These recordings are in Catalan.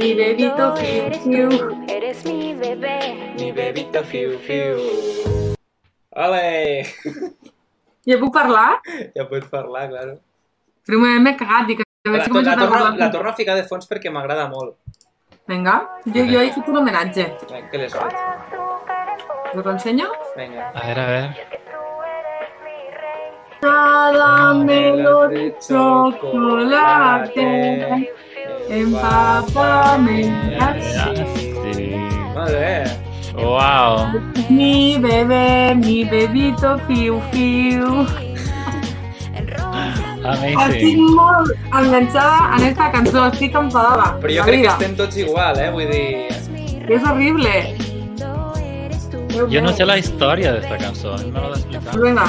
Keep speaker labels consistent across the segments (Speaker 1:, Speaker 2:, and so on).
Speaker 1: Mi bebito fiu
Speaker 2: eres
Speaker 1: fiu.
Speaker 2: tú, eres mi bebé.
Speaker 3: Mi bebito fiu fiu. Ole!
Speaker 1: Ja puc parlar?
Speaker 3: Ja pots parlar, claro.
Speaker 1: Primer m'he cagat, dic, a
Speaker 3: La,
Speaker 1: veure si
Speaker 3: to, la,
Speaker 1: començo a
Speaker 3: torno,
Speaker 1: parlar.
Speaker 3: la torno a ficar de fons perquè m'agrada molt.
Speaker 1: Vinga, jo, jo he fet un homenatge.
Speaker 3: Ai, Què les faig?
Speaker 1: Us ho ensenyo?
Speaker 3: Vinga.
Speaker 4: A ver, a ver.
Speaker 1: Cada melo
Speaker 3: Caramelo
Speaker 1: de
Speaker 3: de
Speaker 1: chocolate
Speaker 3: chocolate.
Speaker 1: empápame en
Speaker 4: Ah, Sí.
Speaker 3: Molt bé.
Speaker 4: Wow.
Speaker 1: Mi bebé, mi bebito fiu fiu.
Speaker 4: Ah,
Speaker 3: Eh,
Speaker 1: Estic
Speaker 4: Amazing.
Speaker 1: molt enganxada en esta cançó, estic enfadada.
Speaker 3: Però jo
Speaker 1: La
Speaker 3: crec que
Speaker 1: vida.
Speaker 3: estem tots igual, eh? Vull dir...
Speaker 1: És horrible.
Speaker 4: Yo no sé la historia de esta canción. ¿Me lo has explicado?
Speaker 1: Vinga,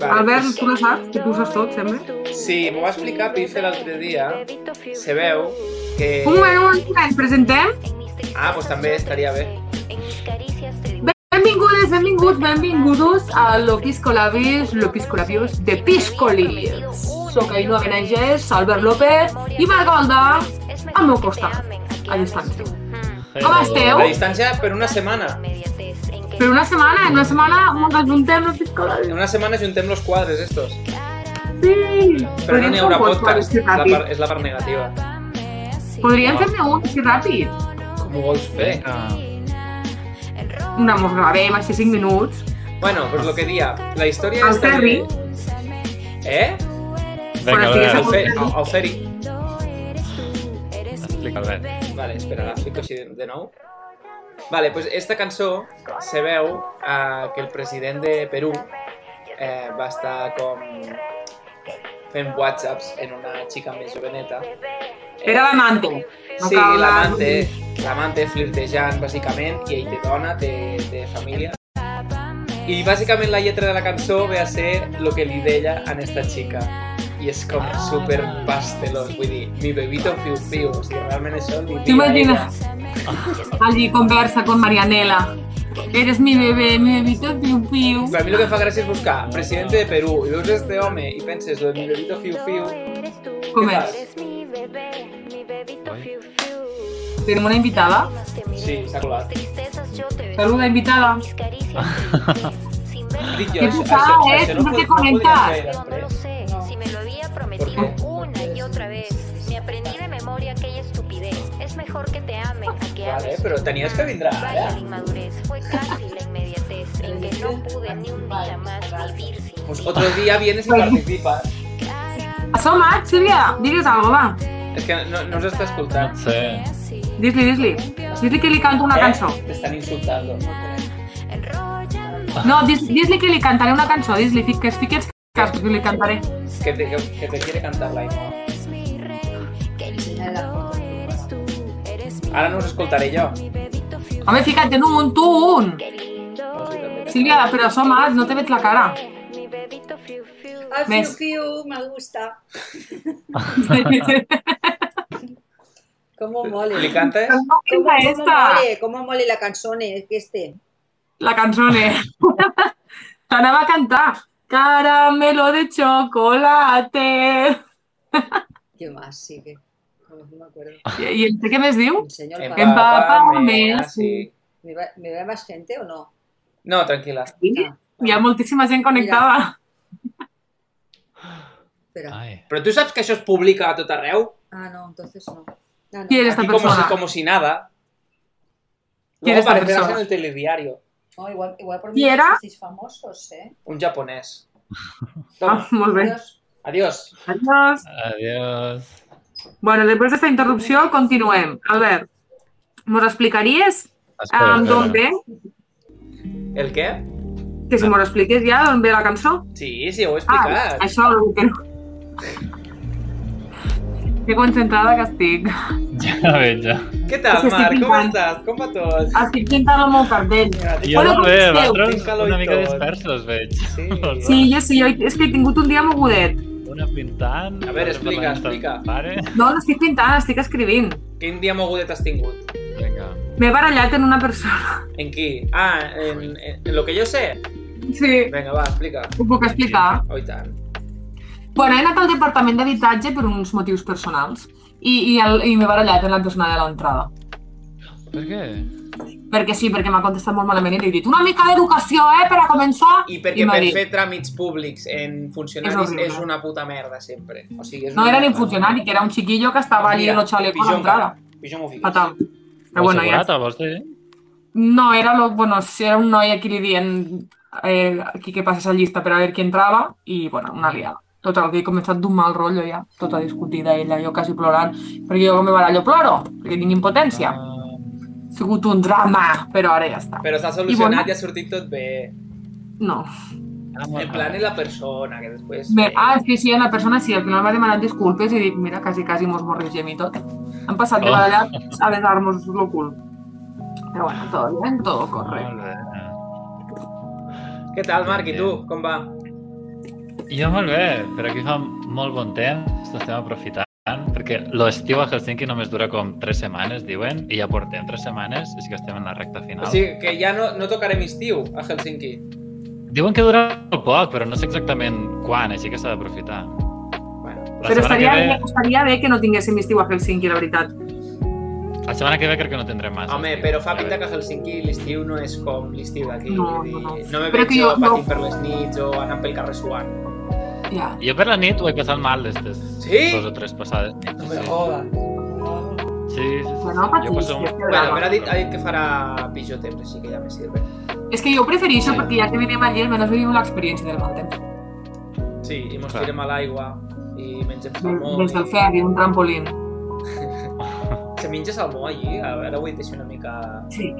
Speaker 3: vale,
Speaker 1: Albert, tu la saps? Que tu ho saps tot, sempre.
Speaker 3: doncs- Sí, m'ho va explicar Pife l'altre dia. Se veu que...
Speaker 1: Un moment, un moment, que ens presentem.
Speaker 3: Ah, doncs també estaria bé.
Speaker 1: Benvingudes, benvinguts, benvingudos a lo piscolabis, lo piscolabius de Piscolis. Soc Aino Benagés, Albert López i Margolda al meu costat, a distància. Com esteu?
Speaker 3: La distància per una setmana.
Speaker 1: Per una setmana, en una setmana ens ajuntem los
Speaker 3: En
Speaker 1: piscolabis.
Speaker 3: una setmana juntem los quadres, estos.
Speaker 1: Sí!
Speaker 3: Però no n'hi haurà podcast. És
Speaker 1: Que
Speaker 3: la, part,
Speaker 1: ràpid.
Speaker 3: és la part negativa.
Speaker 1: Podríem fer-ne un, que ràpid.
Speaker 3: Com ho vols fer?
Speaker 1: No, mos gravem així 5 minuts.
Speaker 3: Bueno, pues lo que dia. La història
Speaker 1: El
Speaker 3: és... de-
Speaker 1: Ferri. Ah,
Speaker 3: Eh?
Speaker 4: Venga, a
Speaker 1: Bueno,
Speaker 3: El,
Speaker 4: ver.
Speaker 1: sigues
Speaker 3: Fe, el, el Ferri.
Speaker 4: Explica, a ver.
Speaker 3: Vale, espera, la fico així de, de nou. Vale, pues esta cançó se veu eh, que el president de Perú eh, va estar com fent whatsapps en una xica més joveneta. Eh,
Speaker 1: Era l'amante. No
Speaker 3: sí,
Speaker 1: cal-
Speaker 3: l'amante, l'amante flirtejant, bàsicament, i ell té dona, té, té família. I bàsicament la lletra de la cançó ve a ser lo que li deia a esta xica. I és com
Speaker 4: Ah.
Speaker 3: super pastelos, vull dir, mi bebito fiu fiu, o sigui, realment això li
Speaker 1: ¿Te
Speaker 3: deia
Speaker 1: imaginas? Allí conversa con Marianela. Eres mi bebé, mi bebito piu piu.
Speaker 3: Per mi el que fa gràcia és buscar presidente de Perú i veus este home i penses lo de mi bebito fiu fiu.
Speaker 1: Com
Speaker 3: Què
Speaker 1: és?
Speaker 3: fas?
Speaker 1: Tenim una invitada.
Speaker 3: Sí, s'ha colat.
Speaker 1: Saluda, invitada.
Speaker 3: Dic jo,
Speaker 1: Què
Speaker 3: això,
Speaker 1: fa,
Speaker 3: això,
Speaker 1: eh?
Speaker 3: això no,
Speaker 1: No
Speaker 3: ho-
Speaker 1: te
Speaker 3: no ho podíem
Speaker 1: conectas.
Speaker 3: fer després.
Speaker 5: Si me lo había
Speaker 3: ¿Por
Speaker 5: prometido
Speaker 3: qué?
Speaker 5: una y otra vez, me aprendí de memoria aquella estupidez. Es mejor que te amen a que
Speaker 3: Vale,
Speaker 5: ames.
Speaker 3: però tenies que vindre
Speaker 5: Vaya
Speaker 3: ara.
Speaker 5: la inmadurez, fue casi la inmediatez en que no pude ni un día más vivir sin
Speaker 3: Pues otro día vienes y participas.
Speaker 1: Asoma't, Sílvia. Digues alguna va.
Speaker 3: És que no, no us està
Speaker 4: No
Speaker 3: escoltant.
Speaker 4: sé.
Speaker 1: Dis-li, dis-li. Dis-li que li canto una cançó.
Speaker 3: Eh? T'estan insultant.
Speaker 1: No, dis- dis-li que li cantaré una cançó. Dis-li fi- que es fiqui els cascos que li cantaré.
Speaker 3: Que te, que, que te quiere cantar l'Aima. Ara no us escoltaré jo.
Speaker 1: Home, fica't en un, tu un.
Speaker 3: No, sí, també.
Speaker 1: Sílvia, però asoma't, no te veig la cara.
Speaker 5: mi bebito fiu fiu.
Speaker 6: Ah, fiu,
Speaker 1: Més.
Speaker 6: fiu, me gusta. Cómo mole.
Speaker 3: Li cantes?
Speaker 1: No,
Speaker 6: Cómo,
Speaker 1: quina
Speaker 6: cómo
Speaker 1: esta?
Speaker 6: mole, cómo mole la canción eh, que este.
Speaker 1: La canzone. T'anava a cantar. Caramelo de chocolate.
Speaker 6: ¿Qué más sigue? No, no me acuerdo.
Speaker 1: I, i el què més diu?
Speaker 6: Un señor para-
Speaker 1: Empa-
Speaker 3: Empapame, así.
Speaker 6: ¿Me, va, ¿Me va más gente o no?
Speaker 3: No, tranquil·la.
Speaker 6: Ah,
Speaker 1: Hi ha moltíssima gent connectada.
Speaker 6: espera.
Speaker 4: Ay.
Speaker 3: Però tu saps que això es publica a tot arreu?
Speaker 6: Ah, no, entonces no. Ah, no.
Speaker 1: Qui eres? Esta
Speaker 3: Aquí como
Speaker 1: persona.
Speaker 3: si, como si nada.
Speaker 1: ¿Quién
Speaker 3: Luego
Speaker 1: es esta
Speaker 3: aparecerás
Speaker 1: persona?
Speaker 3: en el telediario.
Speaker 6: No, igual, igual por
Speaker 1: ¿Y
Speaker 6: mí
Speaker 1: era?
Speaker 6: sois famosos, ¿eh?
Speaker 3: Un japonés.
Speaker 1: Ah,
Speaker 3: Toma,
Speaker 1: molt bé.
Speaker 6: Dios.
Speaker 3: adiós.
Speaker 1: Adiós.
Speaker 4: Adiós.
Speaker 1: Bueno, després d'esta interrupció, continuem. Albert, mos explicaries
Speaker 4: Ah, Espera,
Speaker 1: um, d'on ve?
Speaker 4: espera.
Speaker 3: El què?
Speaker 1: Que si mos expliques ja d'on ve la cançó.
Speaker 3: Sí, sí, ho he
Speaker 1: Ah,
Speaker 3: explicat.
Speaker 1: això el que no... Que concentrada que estic.
Speaker 4: Ya, a ver, ya.
Speaker 3: Què tal,
Speaker 1: Sí, sí,
Speaker 3: Marc? Com
Speaker 1: picant.
Speaker 3: estàs? Com va tot?
Speaker 1: Estic pintant el meu cartell.
Speaker 3: Mira, tinc-
Speaker 4: Yo
Speaker 1: Hola,
Speaker 4: no
Speaker 1: com
Speaker 4: veo,
Speaker 1: esteu?
Speaker 4: vosotros
Speaker 3: Tinc calor
Speaker 4: una
Speaker 3: i
Speaker 4: mica
Speaker 3: tot.
Speaker 4: dispersos, veig.
Speaker 3: Sí.
Speaker 1: Sí, jo sí, jo és que he tingut un dia mogudet.
Speaker 4: Una pintant...
Speaker 3: A ver,
Speaker 4: otra
Speaker 3: explica,
Speaker 4: parlant amb
Speaker 3: explica.
Speaker 4: Pare.
Speaker 1: No, no estic pintant, estic escrivint.
Speaker 3: Quin dia mogudet has tingut?
Speaker 4: Vinga.
Speaker 1: M'he barallat en una persona.
Speaker 3: En qui? Ah, en, en, en lo que jo sé.
Speaker 1: Sí,
Speaker 3: Vinga, va, explica.
Speaker 1: ho puc explicar.
Speaker 3: Oh, i tant.
Speaker 1: Bueno, he anat al departament d'habitatge per uns motius personals. i, i, el, i m'he barallat en la tornada de l'entrada.
Speaker 4: Per què?
Speaker 1: Perquè sí, perquè m'ha contestat molt malament i li he dit una mica d'educació, eh, per a començar.
Speaker 3: I perquè
Speaker 1: m'ha
Speaker 3: per
Speaker 1: dit,
Speaker 3: fer tràmits públics en
Speaker 1: És
Speaker 3: funcionaris
Speaker 1: horrible.
Speaker 3: és una puta merda sempre. O sigui, és
Speaker 1: No
Speaker 3: una
Speaker 1: era ni un
Speaker 3: merda.
Speaker 1: funcionari, que era un chiquillo que estava allí en los chalecos a
Speaker 3: pitjor
Speaker 1: l'entrada.
Speaker 3: encara. Pitjor m'ho fiques.
Speaker 1: Fatal. Però
Speaker 4: Ho
Speaker 1: Ah, bueno, ja
Speaker 4: assegurat, el vols dir?
Speaker 1: No, era lo, bueno, sí, era un noi a qui li dient eh, aquí que passés la llista per a veure qui entrava i, bueno, una liada. Total, que he començat d'un mal rotllo ja, tota discutida ella, jo quasi plorant, perquè jo com me barallo ploro, perquè tinc impotència.
Speaker 3: Ah,
Speaker 1: Ha sigut un drama, però ara ja està.
Speaker 3: però s'ha
Speaker 1: I
Speaker 3: solucionat
Speaker 1: bueno.
Speaker 3: i ha sortit tot bé.
Speaker 1: No.
Speaker 3: En plan, és la persona que després...
Speaker 1: Bé, ah, sí, sí, la persona sí, al final m'ha demanat disculpes i dic, mira, quasi, quasi mos borregem i tot. Hem passat de
Speaker 4: Oh.
Speaker 1: barallar a besar-nos lo cul. Però bueno, tot bé, tot correcte.
Speaker 3: Què tal, Marc? I tu? Com va?
Speaker 4: Jo molt bé, però aquí fa molt bon temps, l'estem aprofitant, perquè l'estiu a Helsinki només dura com tres setmanes, diuen, i ja portem tres setmanes, així que estem en la recta final.
Speaker 3: O
Speaker 1: Ah.
Speaker 3: sigui, que ja no, no tocarem estiu a Helsinki.
Speaker 4: Diuen que dura molt poc, però no sé exactament quan, així que s'ha d'aprofitar.
Speaker 3: Bueno,
Speaker 4: La
Speaker 1: Però
Speaker 4: setmana
Speaker 1: estaria,
Speaker 4: que
Speaker 1: bé,
Speaker 4: ve,
Speaker 1: estaria bé que no tinguéssim estiu a Helsinki, la veritat.
Speaker 4: La setmana que ve crec que no tindrem massa.
Speaker 3: home,
Speaker 4: estiu.
Speaker 3: però fa pinta que a Helsinki l'estiu no és com l'estiu d'aquí.
Speaker 1: No,
Speaker 3: vull dir,
Speaker 1: no, no.
Speaker 3: no me
Speaker 1: Però
Speaker 3: veig
Speaker 1: que
Speaker 3: jo
Speaker 1: jo- no.
Speaker 3: patint per les nits o anant pel carrer suant.
Speaker 1: Ja.
Speaker 4: Jo per la nit ho he passat mal aquestes
Speaker 3: Sí? oh.
Speaker 4: dos o tres passades.
Speaker 3: No
Speaker 4: nits,
Speaker 3: me
Speaker 4: Sí,
Speaker 3: jodas.
Speaker 4: sí, sí. sí.
Speaker 1: Però no
Speaker 4: Jo
Speaker 1: patís,
Speaker 4: passo
Speaker 1: que és que
Speaker 3: Bueno,
Speaker 1: drama.
Speaker 3: però ha dit, ha dit que farà pitjor temps, així que ja me sirve.
Speaker 1: És que jo ho prefereixo
Speaker 4: Sí.
Speaker 1: perquè ja que venim allí almenys vivim l'experiència del mal temps.
Speaker 3: Sí, i mos
Speaker 4: Clar.
Speaker 3: tirem a l'aigua i mengem salmó.
Speaker 1: Des del
Speaker 3: i-
Speaker 1: ferri, un trampolín.
Speaker 3: Se menja salmó allí? A veure, ho he deixat una mica...
Speaker 1: Sí.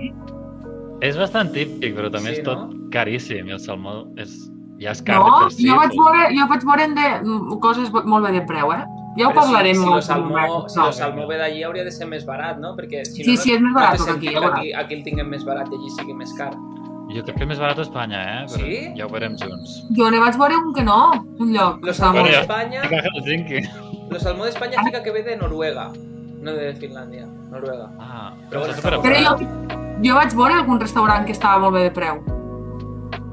Speaker 4: És bastant típic, però també
Speaker 3: Sí,
Speaker 4: és tot caríssim. I el salmó és... ja és car de
Speaker 1: No,
Speaker 4: per si.
Speaker 1: jo vaig veure, jo vaig veure de mm, coses bo- molt bé de preu, eh? Ja ho
Speaker 3: Però
Speaker 1: parlarem.
Speaker 3: Si, si,
Speaker 1: molt
Speaker 3: lo salmó,
Speaker 1: amb
Speaker 3: si lo
Speaker 1: Marc,
Speaker 3: salmó ve d'allí hauria de ser més barat, no? Perquè si
Speaker 1: Sí,
Speaker 3: no,
Speaker 1: sí, és més
Speaker 3: no té
Speaker 1: barat que
Speaker 3: sentit
Speaker 1: aquí,
Speaker 3: que
Speaker 1: ja veuràs.
Speaker 3: aquí, aquí el tinguem més barat i allí sigui més car.
Speaker 4: Jo crec que és més barat a Espanya, eh? Però
Speaker 3: Sí?
Speaker 4: Ja ho veurem junts.
Speaker 1: no. Jo ne vaig veure un que no, un lloc.
Speaker 3: Lo
Speaker 1: Estava
Speaker 3: salmó
Speaker 1: molt-
Speaker 4: Bueno, ja.
Speaker 3: d'Espanya...
Speaker 4: A Helsinki.
Speaker 3: Lo salmó d'Espanya fica que ve de Noruega, no de Finlàndia. Noruega.
Speaker 4: Ah,
Speaker 3: Però
Speaker 4: però
Speaker 3: bueno,
Speaker 4: està super
Speaker 1: Però jo, jo vaig veure algun restaurant que estava molt bé de preu.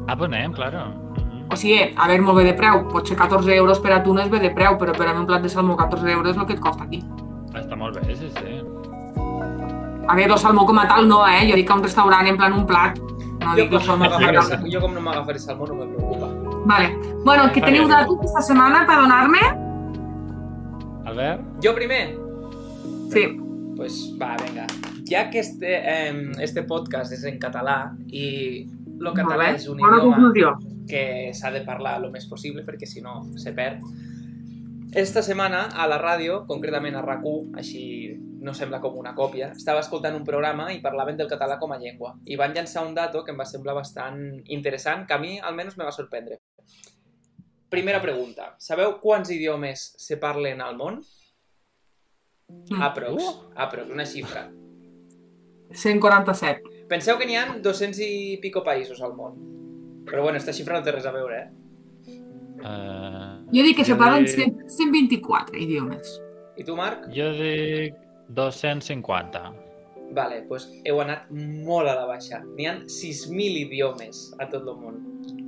Speaker 4: Ah, Bonem, claro. Mhm.
Speaker 1: O sigui, eh, a veure, molt bé de preu. Potser 14 euros per a tu no és bé de preu, però per a mi un plat de salmó 14 euros és el que et costa aquí.
Speaker 4: Està molt bé, sí, sí.
Speaker 1: A veure, el salmó com a tal no, eh? Jo dic a un restaurant en plan un plat. No
Speaker 3: Jo
Speaker 1: dic el
Speaker 3: com, no
Speaker 1: salmó com a
Speaker 3: m'agafaré,
Speaker 1: tal.
Speaker 3: sal- jo com no m'agafaré salmó no me preocupa.
Speaker 1: Vale. Bueno, que teniu datos aquesta setmana per donar-me?
Speaker 4: Albert?
Speaker 3: Jo primer?
Speaker 1: Sí.
Speaker 3: Pues va, venga. Ja que este, eh, este podcast és en català i el català és un
Speaker 1: Bona
Speaker 3: idioma
Speaker 1: conclusió.
Speaker 3: que s'ha de parlar el més possible perquè si no se perd. Esta setmana a la ràdio, concretament a rac així no sembla com una còpia, estava escoltant un programa i parlaven del català com a llengua i van llançar un dato que em va semblar bastant interessant, que a mi almenys me va sorprendre. Primera pregunta. Sabeu quants idiomes se parlen al món?
Speaker 1: Mm.
Speaker 3: Aprox, aprox, una xifra.
Speaker 1: 147.
Speaker 3: Penseu que n'hi ha 200 i pico països al món. Però bueno, esta xifra no té res a veure, eh?
Speaker 4: Uh,
Speaker 1: Jo dic que se parlen
Speaker 4: dic-
Speaker 1: 100 124 idiomes.
Speaker 3: I tu, Marc?
Speaker 4: Jo dic 250.
Speaker 3: Vale, doncs heu anat molt a la baixa. N'hi ha 6.000 idiomes a tot el món.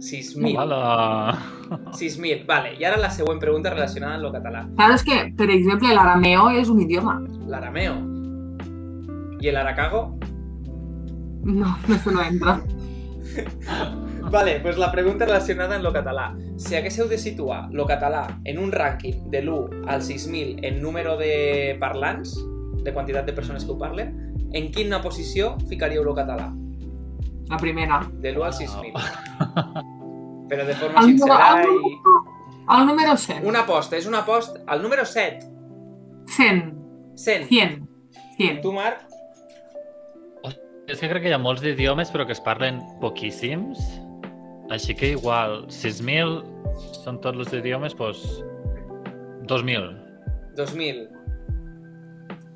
Speaker 3: 6.000.
Speaker 4: Hola!
Speaker 3: 6.000, vale. I ara la següent pregunta relacionada amb el català.
Speaker 1: Saps que, per exemple, l'arameo és un idioma.
Speaker 3: L'arameo. I el aracago?
Speaker 1: No, això no entra.
Speaker 3: Vale, doncs la pregunta relacionada amb el català. Si haguéssiu de situar el català en un rànquing de l'1 al 6.000 en número de parlants, de quantitat de persones que ho parlen, en quina posició ficaríeu el català?
Speaker 1: La primera.
Speaker 3: De l'1 al 6.000. Però de forma
Speaker 1: El, número-
Speaker 3: sincera
Speaker 1: el,
Speaker 3: i...
Speaker 1: número, el número 100.
Speaker 3: Una aposta, és una aposta. El número 7,
Speaker 1: 100.
Speaker 3: 100.
Speaker 1: 100. 100.
Speaker 3: Tu, Marc,
Speaker 4: És que crec que hi ha molts idiomes però que es parlen poquíssims, així que igual 6.000 són tots els idiomes, doncs 2.000.
Speaker 3: 2000.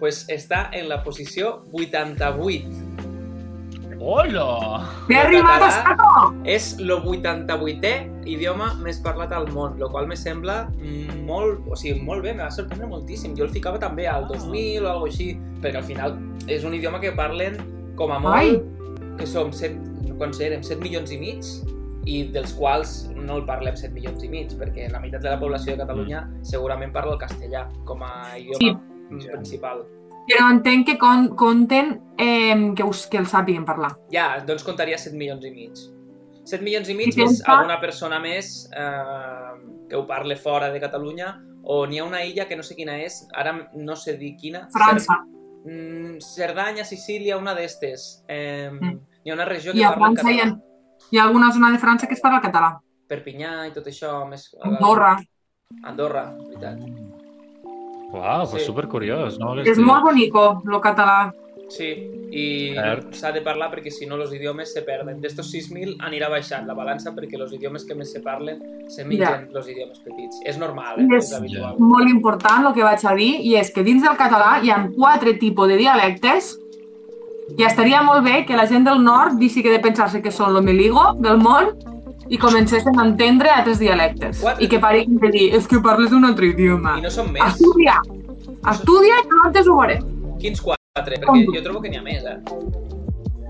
Speaker 3: Pues està en la posició 88.
Speaker 4: Hola!
Speaker 1: T'he arribat a
Speaker 3: català-
Speaker 1: saco!
Speaker 3: És el 88è idioma més parlat al món, lo qual me sembla mm, molt, o sigui, molt bé, me va sorprendre moltíssim. Jo el ficava també al 2000 o alguna així, perquè al final és un idioma que parlen com a molt,
Speaker 1: Ai.
Speaker 3: que som 7, quan érem 7 milions i mig, i dels quals no el parlem 7 milions i mig, perquè la meitat de la població de Catalunya segurament parla el castellà com a idioma
Speaker 1: Sí,
Speaker 3: mm, principal.
Speaker 1: Però entenc que con, conten eh, que, us, que els sàpiguen parlar.
Speaker 3: Ja, doncs contaria 7 milions i mig. 7 milions i mig
Speaker 1: I
Speaker 3: més
Speaker 1: pensa-
Speaker 3: alguna persona més eh, que ho parle fora de Catalunya o n'hi ha una illa que no sé quina és, ara no sé dir quina.
Speaker 1: França.
Speaker 3: Cer- mm, Cerdanya, Sicília, una d'estes. Eh,
Speaker 1: Mm.
Speaker 3: Hi ha una regió que
Speaker 1: I a
Speaker 3: parla en
Speaker 1: França hi ha,
Speaker 3: català.
Speaker 1: hi ha alguna zona de França que es parla català.
Speaker 3: Perpinyà i tot això. Més...
Speaker 1: Andorra.
Speaker 3: Andorra, veritat.
Speaker 4: Uau, pues
Speaker 3: Sí.
Speaker 4: supercuriós, no?
Speaker 1: És molt bonico, lo català.
Speaker 3: Sí, i
Speaker 4: Cert.
Speaker 3: s'ha de parlar perquè si no els idiomes se perden. D'estos 6.000 anirà baixant la balança perquè els idiomes que més se parlen se mengen els idiomes petits. És normal, eh?
Speaker 1: Yes.
Speaker 3: és habitual.
Speaker 1: Molt important el que vaig a dir i és que dins del català hi ha quatre tipus de dialectes i estaria molt bé que la gent del nord deixi que de pensar-se que són lo meligo del món i comencessin a entendre altres dialectes.
Speaker 3: Quatre.
Speaker 1: I que parin de dir, és que parles d'un altre idioma.
Speaker 3: I no són
Speaker 1: Ah,
Speaker 3: més?
Speaker 1: Estudia! Estudia i nosaltres ho veurem.
Speaker 3: Quins quatre? Perquè jo trobo que n'hi ha més, eh?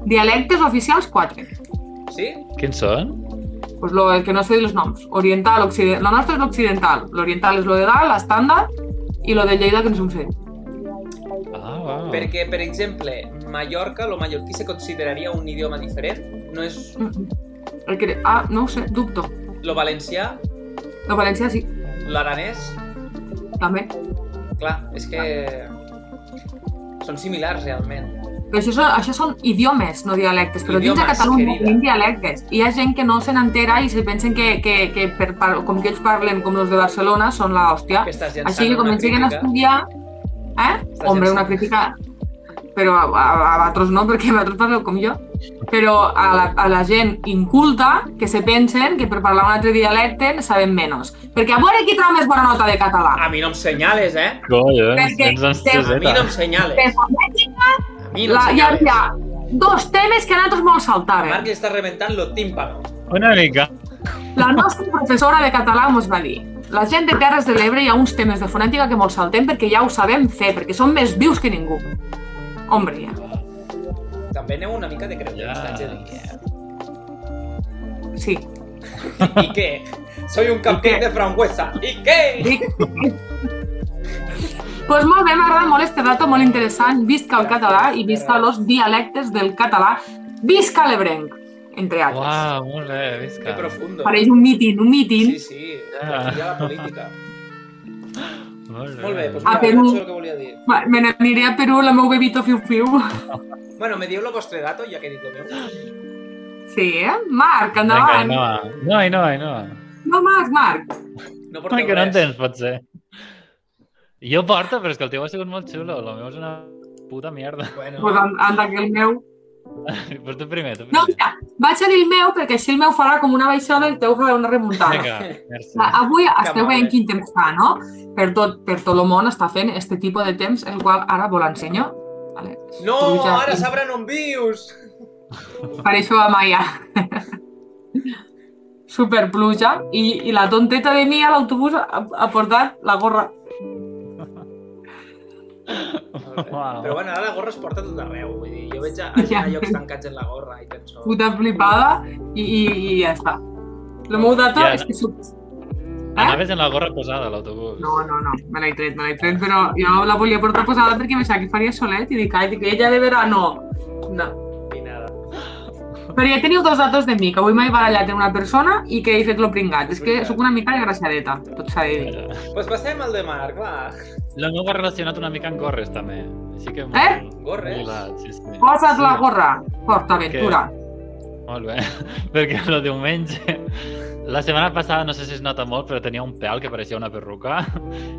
Speaker 1: Dialectes oficials, quatre.
Speaker 3: Sí?
Speaker 4: Quins són?
Speaker 1: Pues lo, el que no sé els noms. Oriental, occidental. La nostra és l'occidental. L'oriental és lo de dalt, l'estàndard, i lo de Lleida que no se'n sé.
Speaker 4: Ah, uau.
Speaker 3: Perquè, per exemple, Mallorca, lo mallorquí se consideraria un idioma diferent. No és
Speaker 1: Mhm. El que... Ah, no ho sé, dubto.
Speaker 3: lo valencià,
Speaker 1: La València sí,
Speaker 3: l'aranès...
Speaker 1: també.
Speaker 3: Clar, és que... Són similars, realment.
Speaker 1: Però això són, això són idiomes, no dialectes. Però dins de
Speaker 3: Idiomes,
Speaker 1: Catalunya
Speaker 3: querida.
Speaker 1: tenim dialectes. I hi ha gent que no se n'entera i se pensen que, que, que per, par- com que ells parlen com els de Barcelona són la hòstia.
Speaker 3: Que estàs llançant
Speaker 1: Ah, Així que
Speaker 3: una
Speaker 1: comencen a
Speaker 3: crítica.
Speaker 1: estudiar... Eh?
Speaker 3: Estàs
Speaker 1: Hombre,
Speaker 3: llançant.
Speaker 1: una crítica... Però a, a, a vosaltres no, perquè vosaltres parleu com jo. Però a la, a la gent inculta que se pensen que per parlar un altre dialecte en saben menys. Perquè a veure qui treu més bona nota de català.
Speaker 3: A mi no em senyales, eh?
Speaker 4: Collons,
Speaker 1: Perquè
Speaker 4: tens
Speaker 3: A mi no
Speaker 4: ansioseta.
Speaker 3: em senyales.
Speaker 1: Però
Speaker 3: A mi no
Speaker 1: la,
Speaker 3: em
Speaker 1: hi, ha,
Speaker 3: senyales.
Speaker 1: hi ha dos temes que a nosaltres molt saltaven.
Speaker 3: Marc li està reventant lo tímpano.
Speaker 4: Una mica.
Speaker 1: La nostra professora de català ens va dir la gent de Terres de l'Ebre hi ha uns temes de fonètica que molt saltem perquè ja ho sabem fer, perquè som més vius que ningú. Hombre, ja.
Speaker 3: També aneu una mica de creu,
Speaker 4: Ja.
Speaker 3: t'haig de dir. eh?
Speaker 1: Sí.
Speaker 3: I què? Soy un campió
Speaker 1: què?
Speaker 3: de frangüesa. I què?
Speaker 1: Dic... pues molt bé, m'agrada molt este dato, molt interessant. Visca el català i visca los dialectes del català. Visca l'ebrenc, entre altres.
Speaker 4: Uau, molt bé,
Speaker 3: Que
Speaker 4: visca.
Speaker 3: profundo.
Speaker 1: Pareix un mítin, un mítin.
Speaker 3: Sí, sí, ja. la política.
Speaker 4: Molt bé.
Speaker 3: Molt bé, doncs
Speaker 1: A
Speaker 3: mira,
Speaker 1: Perú.
Speaker 3: això és el que volia dir.
Speaker 1: Va, Me n'aniré a Perú, la meu bebito fiu-fiu.
Speaker 3: Bueno, me dieu lo vostre dato, ja que he dit lo meu.
Speaker 1: Sí, eh? Marc,
Speaker 4: Vinga,
Speaker 1: endavant.
Speaker 4: Ainhoa. No, Ainhoa, Ainhoa.
Speaker 1: no, Marc, Marc.
Speaker 3: No
Speaker 4: Ai,
Speaker 3: porteu
Speaker 4: que no
Speaker 3: res.
Speaker 4: entens, potser. Jo porto, però és que el teu ha sigut molt xulo. El meu és una puta mierda.
Speaker 1: Pues
Speaker 3: Bueno,
Speaker 1: anda, anda que el meu...
Speaker 4: Però tu primer, tu
Speaker 1: No,
Speaker 4: primer.
Speaker 1: mira, vaig a dir el meu perquè així el meu farà com una baixada i el teu farà una remuntada.
Speaker 4: Vinga, merci.
Speaker 1: Va, Avui esteu
Speaker 3: mal,
Speaker 1: veient
Speaker 3: eh?
Speaker 1: quin temps fa, no? Per tot, per tot el món està fent este tipus de temps, el qual ara vol ensenyo. Vale.
Speaker 3: no,
Speaker 1: Tu ja-
Speaker 3: ara sabran on vius.
Speaker 1: Pareixo a Maia. Superpluja. I, I la tonteta de mi a l'autobús ha, ha portat la gorra.
Speaker 4: Uau.
Speaker 3: Però bueno, ara la gorra es porta a tot arreu. Vull dir, jo veig a, a gent a
Speaker 1: Ja.
Speaker 3: llocs tancats en la gorra i penso...
Speaker 1: Puta flipada i, i, i ja està. El meu dato
Speaker 4: Ja.
Speaker 1: és que... Sub... Eh?
Speaker 4: Anaves amb la gorra posada a l'autobús.
Speaker 1: No, no, no, me l'he tret, me l'he tret, però jo la volia portar posada perquè pensava que faria solet i dic, ai, dic, ella de verano. No.
Speaker 3: I nada.
Speaker 1: Però ja teniu dos datos de mi, que avui m'he barallat amb una persona i que he fet lo pringat. És que sóc una mica desgraciadeta, tot s'ha de
Speaker 4: Eh,
Speaker 1: dir.
Speaker 3: Pues passem al de Marc, va.
Speaker 4: La meva ha relacionat una mica amb gorres, també. Així que... molt-
Speaker 1: Eh?
Speaker 3: Gorres?
Speaker 4: molt Sí, sí.
Speaker 1: Posa't la
Speaker 4: Sí.
Speaker 1: gorra, PortAventura.
Speaker 4: Molt bé, perquè el diumenge... La setmana passada, no sé si es nota molt, però tenia un pèl que pareixia una perruca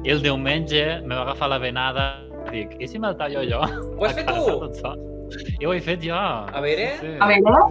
Speaker 4: i el diumenge me va agafar la venada i dic, i si me'l tallo jo?
Speaker 3: Ho has fet tu?
Speaker 4: I ho he fet jo.
Speaker 3: A veure...
Speaker 1: A veure,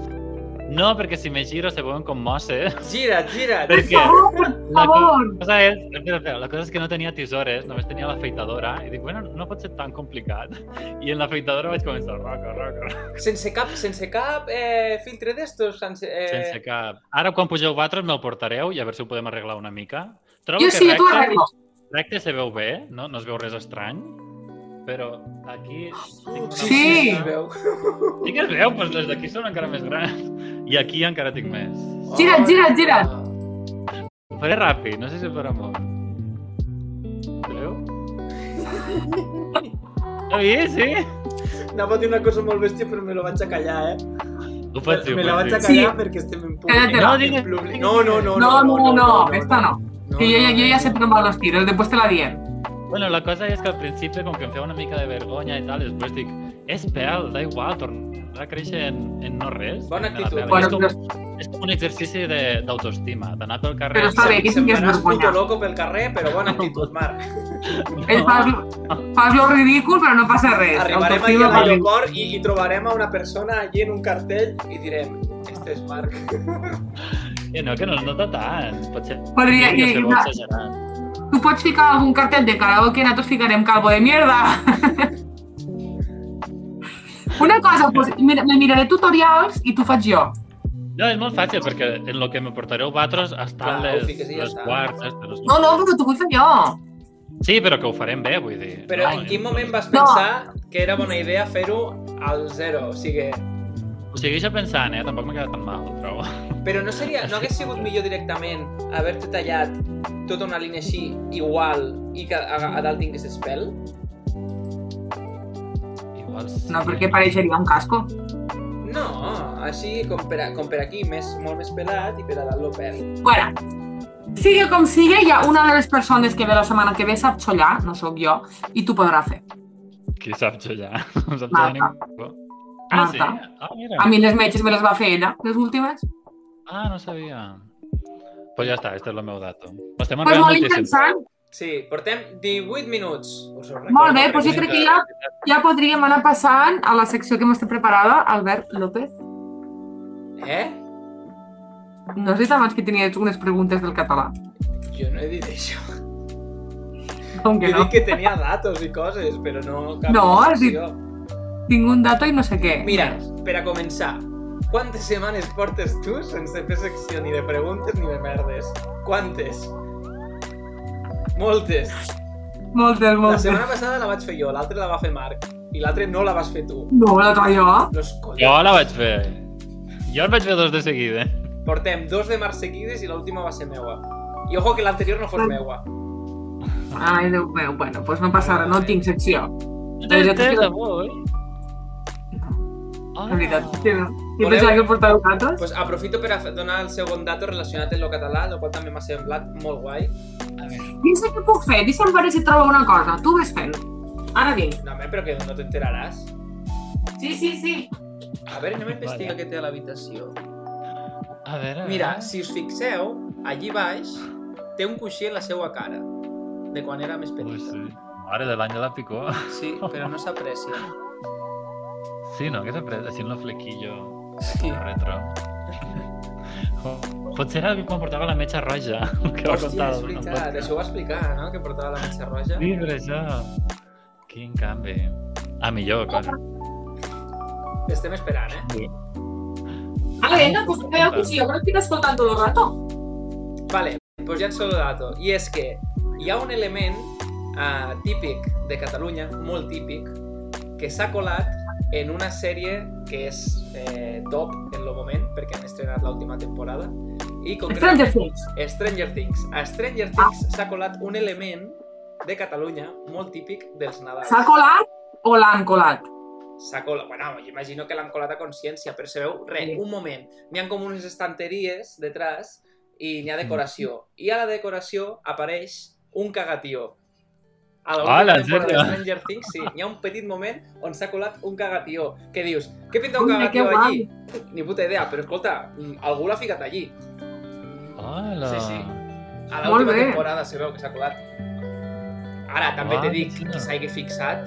Speaker 4: No, perquè si me giro se veuen com mosses.
Speaker 3: Gira't, gira't.
Speaker 4: Per què?
Speaker 1: favor, per
Speaker 4: La
Speaker 1: favor.
Speaker 4: cosa és, espera, espera, la cosa és que no tenia tisores, només tenia l'afeitadora i dic, bueno, no pot ser tan complicat. I en l'afeitadora vaig començar, roca, roca, roca,
Speaker 3: Sense cap, sense cap eh, filtre d'estos, sense... Eh...
Speaker 4: sense cap. Ara quan pugeu vosaltres me'l portareu i a veure si ho podem arreglar una mica. Trobo
Speaker 1: Jo
Speaker 4: que
Speaker 1: sí, jo t'ho
Speaker 4: recte-
Speaker 1: arreglo.
Speaker 4: Recte se veu bé, no, no es veu res estrany, però aquí... tinc una
Speaker 1: Sí.
Speaker 3: es
Speaker 4: mica-
Speaker 3: veu.
Speaker 4: Sí que es veu, doncs les d'aquí són encara més grans. I aquí encara tinc més. Ah.
Speaker 1: Gira't, gira't, gira't.
Speaker 4: Ho faré ràpid, no sé si ho farà molt. Veieu? L'ha vist, sí?
Speaker 3: Anava a dir una cosa molt bèstia, però me lo vaig a callar, eh?
Speaker 4: Ho pots dir, ho
Speaker 3: me la
Speaker 4: pots
Speaker 3: vaig a
Speaker 4: dir.
Speaker 3: callar
Speaker 1: Sí.
Speaker 3: perquè estem en
Speaker 1: Cállate,
Speaker 3: públic.
Speaker 1: no,
Speaker 4: digues,
Speaker 3: en públic.
Speaker 4: digues.
Speaker 3: no, no, no,
Speaker 1: No, no, no,
Speaker 3: no,
Speaker 1: esta no.
Speaker 3: no,
Speaker 1: Que yo, ya-
Speaker 3: no,
Speaker 1: yo ya
Speaker 3: no.
Speaker 1: sé tomar los tiros, después te la ¿eh? dien.
Speaker 4: Bueno, la cosa és que al principi, com que em feia una mica de vergonya i tal, després dic, és pèl, da igual, tornar a créixer en, en no res.
Speaker 3: Bona
Speaker 4: Me la
Speaker 3: actitud.
Speaker 4: pela.
Speaker 1: Bueno,
Speaker 4: és, com,
Speaker 1: però,
Speaker 4: és com un exercici de- d'autoestima, d'anar pel carrer...
Speaker 1: però està bé, que sí que és
Speaker 3: Semblaràs
Speaker 1: vergonya.
Speaker 3: puto loco pel carrer, però bona actitud, Marc.
Speaker 1: Ell fas, fas lo ridícul, però no passa res.
Speaker 3: Arribarem allí
Speaker 1: Autoestima
Speaker 3: a
Speaker 1: per mi.
Speaker 3: l'aeroport i, i trobarem a una persona allí en un cartell i direm este és Marc.
Speaker 4: Que no, que no es nota tant. Potser...
Speaker 1: Podria
Speaker 4: que...
Speaker 1: que-
Speaker 4: Ser exagerat.
Speaker 1: Tu pots ficar algun cartell de karaoke, nosaltres ficarem calvo de mierda. Una cosa, pues, mira, me miraré tutorials i t'ho faig jo.
Speaker 4: No, és molt fàcil, perquè en el que me portareu vosaltres
Speaker 3: Clar,
Speaker 4: estan les,
Speaker 3: ho fiques i ja
Speaker 4: les
Speaker 3: està.
Speaker 4: quarts, les...
Speaker 1: No, no, però t'ho vull fer jo.
Speaker 4: Sí, però que ho farem bé, vull dir.
Speaker 3: Però
Speaker 4: no,
Speaker 3: en quin moment vas
Speaker 1: No.
Speaker 3: pensar que era bona idea fer-ho al zero? O sigui,
Speaker 4: Ho segueixo pensant, eh? Tampoc m'ha quedat tan mal, trobo.
Speaker 3: però no, seria, no hagués sigut millor directament haver-te tallat tota una línia així, igual, i que a, a dalt tingués espel?
Speaker 4: Igual sí.
Speaker 1: No, perquè pareixeria un casco.
Speaker 3: No, així com per, a, com per aquí, més, molt més pelat i per a dalt lo pèl.
Speaker 1: Bueno, sigui com sigui, hi ha una de les persones que ve la setmana que ve sap xollar, no sóc jo, i t'ho podrà fer.
Speaker 4: Qui sap xollar? No
Speaker 1: Marta.
Speaker 4: sap xollar ningú. Ah, sí?
Speaker 1: Marta.
Speaker 4: Ah, mira.
Speaker 1: A mi les metges me les va fer ella, les últimes.
Speaker 4: Ah, no sabia. Pues ja està, este és el meu dato. Estem
Speaker 1: Pues
Speaker 4: enreant
Speaker 1: molt
Speaker 4: moltíssim.
Speaker 1: interessant.
Speaker 3: Sí, portem 18 minuts. Us ho
Speaker 1: Molt bé,
Speaker 3: recordo.
Speaker 1: doncs jo crec Pues que ja, ja podríem anar passant a la secció que m'està preparada, Albert López.
Speaker 3: Eh?
Speaker 1: No has dit abans que tenies unes preguntes del català.
Speaker 3: Jo no he dit això.
Speaker 1: Com que
Speaker 3: Jo
Speaker 1: no?
Speaker 3: dic que tenia datos i coses, però no... Cap
Speaker 1: No, has dit-
Speaker 3: secció.
Speaker 1: Tinc un dato i no sé què.
Speaker 3: Mira, per a començar, quantes setmanes portes tu sense fer secció ni de preguntes ni de merdes? Quantes? Moltes.
Speaker 1: Moltes,
Speaker 3: La
Speaker 1: moltes.
Speaker 3: setmana passada la vaig fer jo, l'altra la va fer Marc, i l'altra no la vas fer tu.
Speaker 1: No, l'altre jo.
Speaker 3: Los
Speaker 4: Jo
Speaker 3: collons.
Speaker 4: la vaig fer. Jo en vaig fer dos de seguida.
Speaker 3: Portem dos de març seguides i l'última va ser meua. I ojo que l'anterior no fos meua.
Speaker 1: Ai, Déu meu, bueno, doncs no passa res, no tinc secció.
Speaker 4: Tres,
Speaker 1: ja t'ho
Speaker 4: tres,
Speaker 1: tiro.
Speaker 4: avui. Ah.
Speaker 1: La veritat, sí, no. Jo
Speaker 3: Voleu?
Speaker 1: pensava que el portàveu vosaltres.
Speaker 3: Pues aprofito per a fer- donar el segon dato relacionat amb lo català, el qual també m'ha semblat molt guai.
Speaker 1: Pensa que puc fer, deixa'm veure si trobo una cosa. Tu ves fent. Ara vinc.
Speaker 3: No, home, però que no t'enteraràs.
Speaker 1: Sí, sí, sí.
Speaker 3: A veure, anem a investigar
Speaker 4: Vale.
Speaker 3: què té a l'habitació.
Speaker 4: A Pues veure...
Speaker 3: Mira, si us fixeu, allí baix té un coixí en la seva cara, de quan era més
Speaker 4: Ui,
Speaker 3: petita.
Speaker 4: sí. Mare de l'any de la picó.
Speaker 3: Sí, però no s'aprecia.
Speaker 4: Sí, no, que s'ha pres així en el flequillo
Speaker 3: Sí.
Speaker 4: retro. Potser era quan portava la metxa roja, que va
Speaker 3: Hòstia,
Speaker 4: contar.
Speaker 3: és veritat, això ho va explicar, no?, que portava la mitja roja.
Speaker 4: Sí, per això. Quin canvi. Ah, millor, clar.
Speaker 3: Estem esperant, eh?
Speaker 1: Ara vinga, pues que veieu que sí, jo crec que t'he escoltat tot el rato.
Speaker 3: Vale, doncs ja en solo dato. I és que hi ha un element uh, típic de Catalunya, molt típic, que s'ha colat en una sèrie que és eh, top en el moment, perquè han estrenat l'última temporada, i
Speaker 1: Stranger Things.
Speaker 3: Stranger Things. A Stranger Things s'ha colat un element de Catalunya molt típic dels Nadals.
Speaker 1: S'ha colat o l'han colat?
Speaker 3: S'ha colat. Bueno, jo imagino que l'han colat a consciència, però se veu, re,
Speaker 1: Sí.
Speaker 3: un moment. N'hi ha com unes estanteries detrás i
Speaker 1: Mm.
Speaker 3: n'hi ha decoració. I a la decoració apareix un cagatió. A la última
Speaker 4: Hola, en
Speaker 3: temporada
Speaker 4: sèrio?
Speaker 3: de Stranger Things, sí, hi ha un petit moment on s'ha colat un cagatió. Què dius? Què pinta un
Speaker 1: Ui, que
Speaker 3: cagatió
Speaker 1: guai.
Speaker 3: allí? Ni puta idea, però escolta, mm, algú l'ha ficat allí.
Speaker 4: Hola.
Speaker 3: Sí, sí. A
Speaker 1: Molt
Speaker 3: l'última
Speaker 1: bé.
Speaker 3: temporada se veu que s'ha colat. Ara, també t'he
Speaker 4: Ah,
Speaker 3: dit
Speaker 4: sí.
Speaker 3: que s'hagi fixat,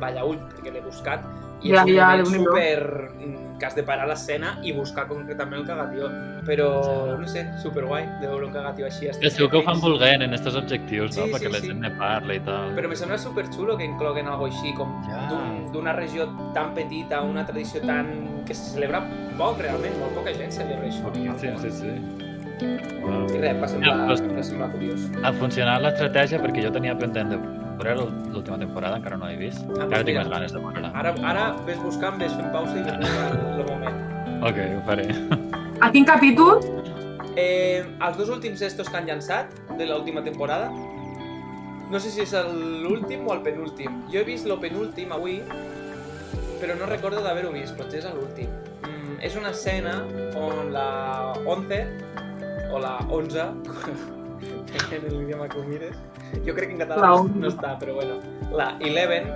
Speaker 3: vaya ull, perquè l'he buscat, i
Speaker 1: Ja,
Speaker 3: és un
Speaker 1: ja,
Speaker 3: moment
Speaker 1: Déu-n'hi-do.
Speaker 3: super... mm, que has de parar l'escena i buscar concretament el cagatió. Però, no sé, superguai de veure un cagatió així. a
Speaker 4: És que ho fan
Speaker 3: Netflix.
Speaker 4: volent en aquests objectius, no?
Speaker 3: Sí, sí,
Speaker 4: Perquè la
Speaker 3: sí.
Speaker 4: gent ne parla i tal.
Speaker 3: Però me sembla superxulo que incloguen algo així, com
Speaker 4: Ja.
Speaker 3: d'un- d'una regió tan petita, una tradició tan... que se celebra poc, realment, molt poca gent celebra això.
Speaker 4: Sí, sí, sí. Wow.
Speaker 3: I res, va
Speaker 4: Ja,
Speaker 3: semblar,
Speaker 4: pues-
Speaker 3: va semblar curiós.
Speaker 4: Ha funcionat l'estratègia perquè jo tenia pendent de veure l'última temporada, encara no l'he vist.
Speaker 3: Ah,
Speaker 4: Encara tinc
Speaker 3: mira.
Speaker 4: més ganes de veure-la.
Speaker 3: Ara, ara ves buscant, ves fent pausa i el moment.
Speaker 4: Ok, ho faré.
Speaker 1: A quin capítol?
Speaker 3: Eh, els dos últims estos que han llançat de l'última temporada No sé si és el- l'últim o el penúltim. Jo he vist el penúltim avui, però no recordo d'haver-ho vist, potser és l'últim. Mm, és una escena on la 11, o la 11, en l'idioma que ho mires, jo crec que en català
Speaker 1: La
Speaker 3: no-
Speaker 1: 11.
Speaker 3: no està, però bueno, la 11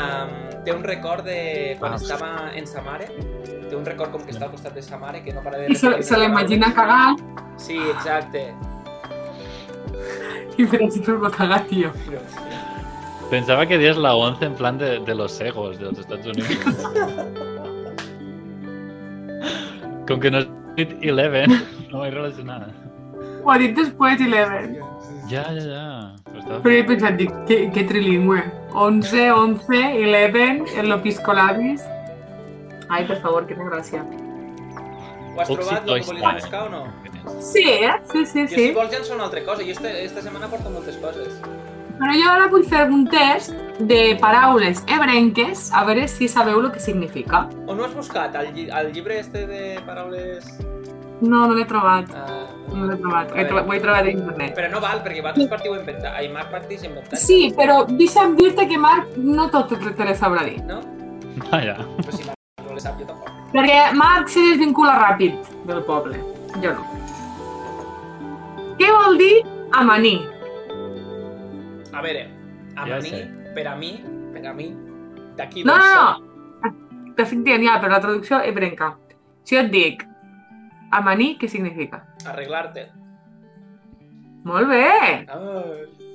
Speaker 3: um, té un record de quan
Speaker 4: Ah.
Speaker 3: estava en sa mare, té un record com que està al costat de sa mare, que no para de...
Speaker 1: I se, se l'imagina cagant
Speaker 3: Sí, exacte.
Speaker 1: i per això no cagar, tio.
Speaker 4: Pensaba que dirías la 11 en plan de, de los egos de los Estados Unidos. Con que no es 11, no hay relacionada.
Speaker 1: Ho ha dit després Eleven.
Speaker 4: Ya, ya, ya. Pero estaba-
Speaker 1: Però he pensat, dic, que, que trilingüe. 11, 11, 11, en lo piscolabis. Ai, per favor, que no gràcia.
Speaker 3: Ho has trobat, el que volies
Speaker 4: Oxytocin.
Speaker 3: buscar o no?
Speaker 1: Sí, eh? Sí, sí,
Speaker 3: Jo, si
Speaker 1: sí.
Speaker 3: vols, llenço una altra cosa. Jo esta, esta setmana porto moltes coses.
Speaker 1: Però jo ara vull fer un test de paraules hebrenques a veure si sabeu el que significa.
Speaker 3: On ho has buscat? Al, lli al llibre este de paraules...
Speaker 1: No, no l'he trobat.
Speaker 3: Uh...
Speaker 1: No l'he trobat. He trobat. Ho he trobat a internet.
Speaker 3: Però no val, perquè vosaltres partiu inventar. Ai, Marc partís inventant.
Speaker 1: Sí, però deixa'm dir-te que Marc no tot te les sabrà dir.
Speaker 3: No?
Speaker 4: Vaya.
Speaker 3: Però si Marc no le sap, jo tampoc.
Speaker 1: Perquè Marc se desvincula ràpid del poble. Jo no. Què vol dir amanir?
Speaker 3: A veure, a
Speaker 4: Ja
Speaker 3: ja mi,
Speaker 4: sé.
Speaker 3: per a mi, per a mi, d'aquí
Speaker 1: No,
Speaker 3: d'on
Speaker 1: no,
Speaker 3: soc.
Speaker 1: no. T'estic dient ja, però la traducció és brenca. Si jo et dic amanir, què significa?
Speaker 3: Arreglar-te. Ah.
Speaker 1: Molt bé!
Speaker 3: Ai.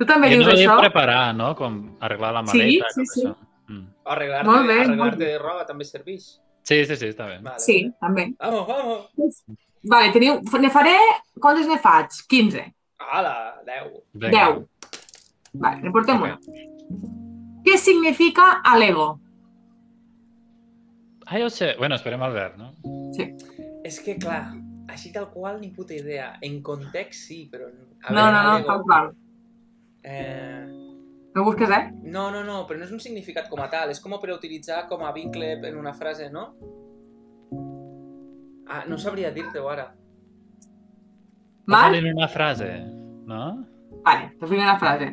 Speaker 1: Tu també
Speaker 4: Yo
Speaker 1: dius
Speaker 4: no lo
Speaker 1: això?
Speaker 4: he preparado, ¿no? Con arreglar la
Speaker 1: Sí,
Speaker 4: maleta. y
Speaker 1: sí,
Speaker 4: todo
Speaker 1: sí.
Speaker 4: eso. Mm.
Speaker 3: O Arreglar-te
Speaker 1: Molt bé, molt
Speaker 3: arreglar-te
Speaker 1: bé.
Speaker 3: de roba també serveix.
Speaker 4: Sí, sí, sí, está bien.
Speaker 3: Vale,
Speaker 1: Sí,
Speaker 3: vale.
Speaker 1: també.
Speaker 3: Vamos, vamos.
Speaker 1: Vale, teniu... Ne faré... Quantes ne faig? 15.
Speaker 3: Ala, 10.
Speaker 4: Venga.
Speaker 1: 10. Vale, ne portem
Speaker 4: Ok.
Speaker 1: una. Què significa alego?
Speaker 4: Ah, yo sé. Bueno, esperemos al ver, ¿no?
Speaker 3: És que, clar, així tal qual ni puta idea. En context sí, però... A
Speaker 1: No, no, no,
Speaker 3: Diego,
Speaker 1: tal qual.
Speaker 3: Eh...
Speaker 1: No busques, eh?
Speaker 3: No, no, no, però no és un significat com a tal, és com a preutilitzar com a vincle en una frase, no? Ah, no sabria dir-te-ho ara.
Speaker 4: Va a
Speaker 1: Marc?
Speaker 4: salir una frase, ¿no?
Speaker 1: Vale, la primera frase.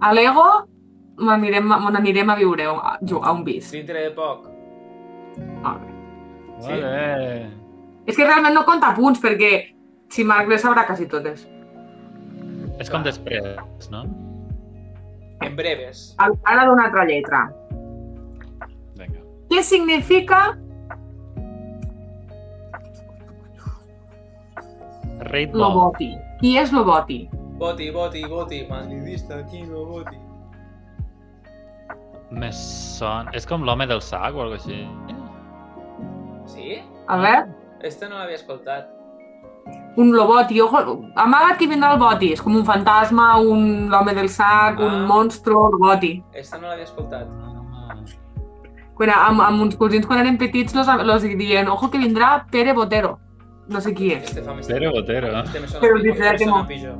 Speaker 1: A l'ego on anirem, on anirem a viure a, jo- a un pis.
Speaker 3: Dintre de poc.
Speaker 1: Molt bé.
Speaker 3: Sí.
Speaker 4: Vale.
Speaker 1: És que realment no compta punts, perquè si Marc les sabrà quasi totes.
Speaker 4: Es con desprez, ¿no?
Speaker 3: En breves.
Speaker 1: Al- Ara d'una altra lletra.
Speaker 4: Venga.
Speaker 1: Què significa...
Speaker 4: Ritmo.
Speaker 1: Loboti. Qui és Loboti?
Speaker 3: Boti, boti, boti, madridista, aquí no boti.
Speaker 4: Me son... És com l'home del sac o algo així. Ah,
Speaker 3: Sí?
Speaker 1: A veure,
Speaker 3: Este no l'havia escoltat.
Speaker 1: un Loboti. Ojo, amaga't que vindrà el Boti. És com un fantasma, un l'home del sac, un
Speaker 3: Ah.
Speaker 1: monstro, el Boti.
Speaker 3: Este no l'havia escoltat.
Speaker 4: Ah,
Speaker 1: Quan, amb, amb uns cosins, quan eren petits, los, los diuen, ojo que vindrà Pere Botero. No sé qui és.
Speaker 3: Este fa més...
Speaker 4: Botero, Botero.
Speaker 3: Este me sona
Speaker 1: Però
Speaker 3: pitjor,
Speaker 1: dice
Speaker 3: me
Speaker 1: que
Speaker 3: sona
Speaker 1: no.
Speaker 3: pitjor.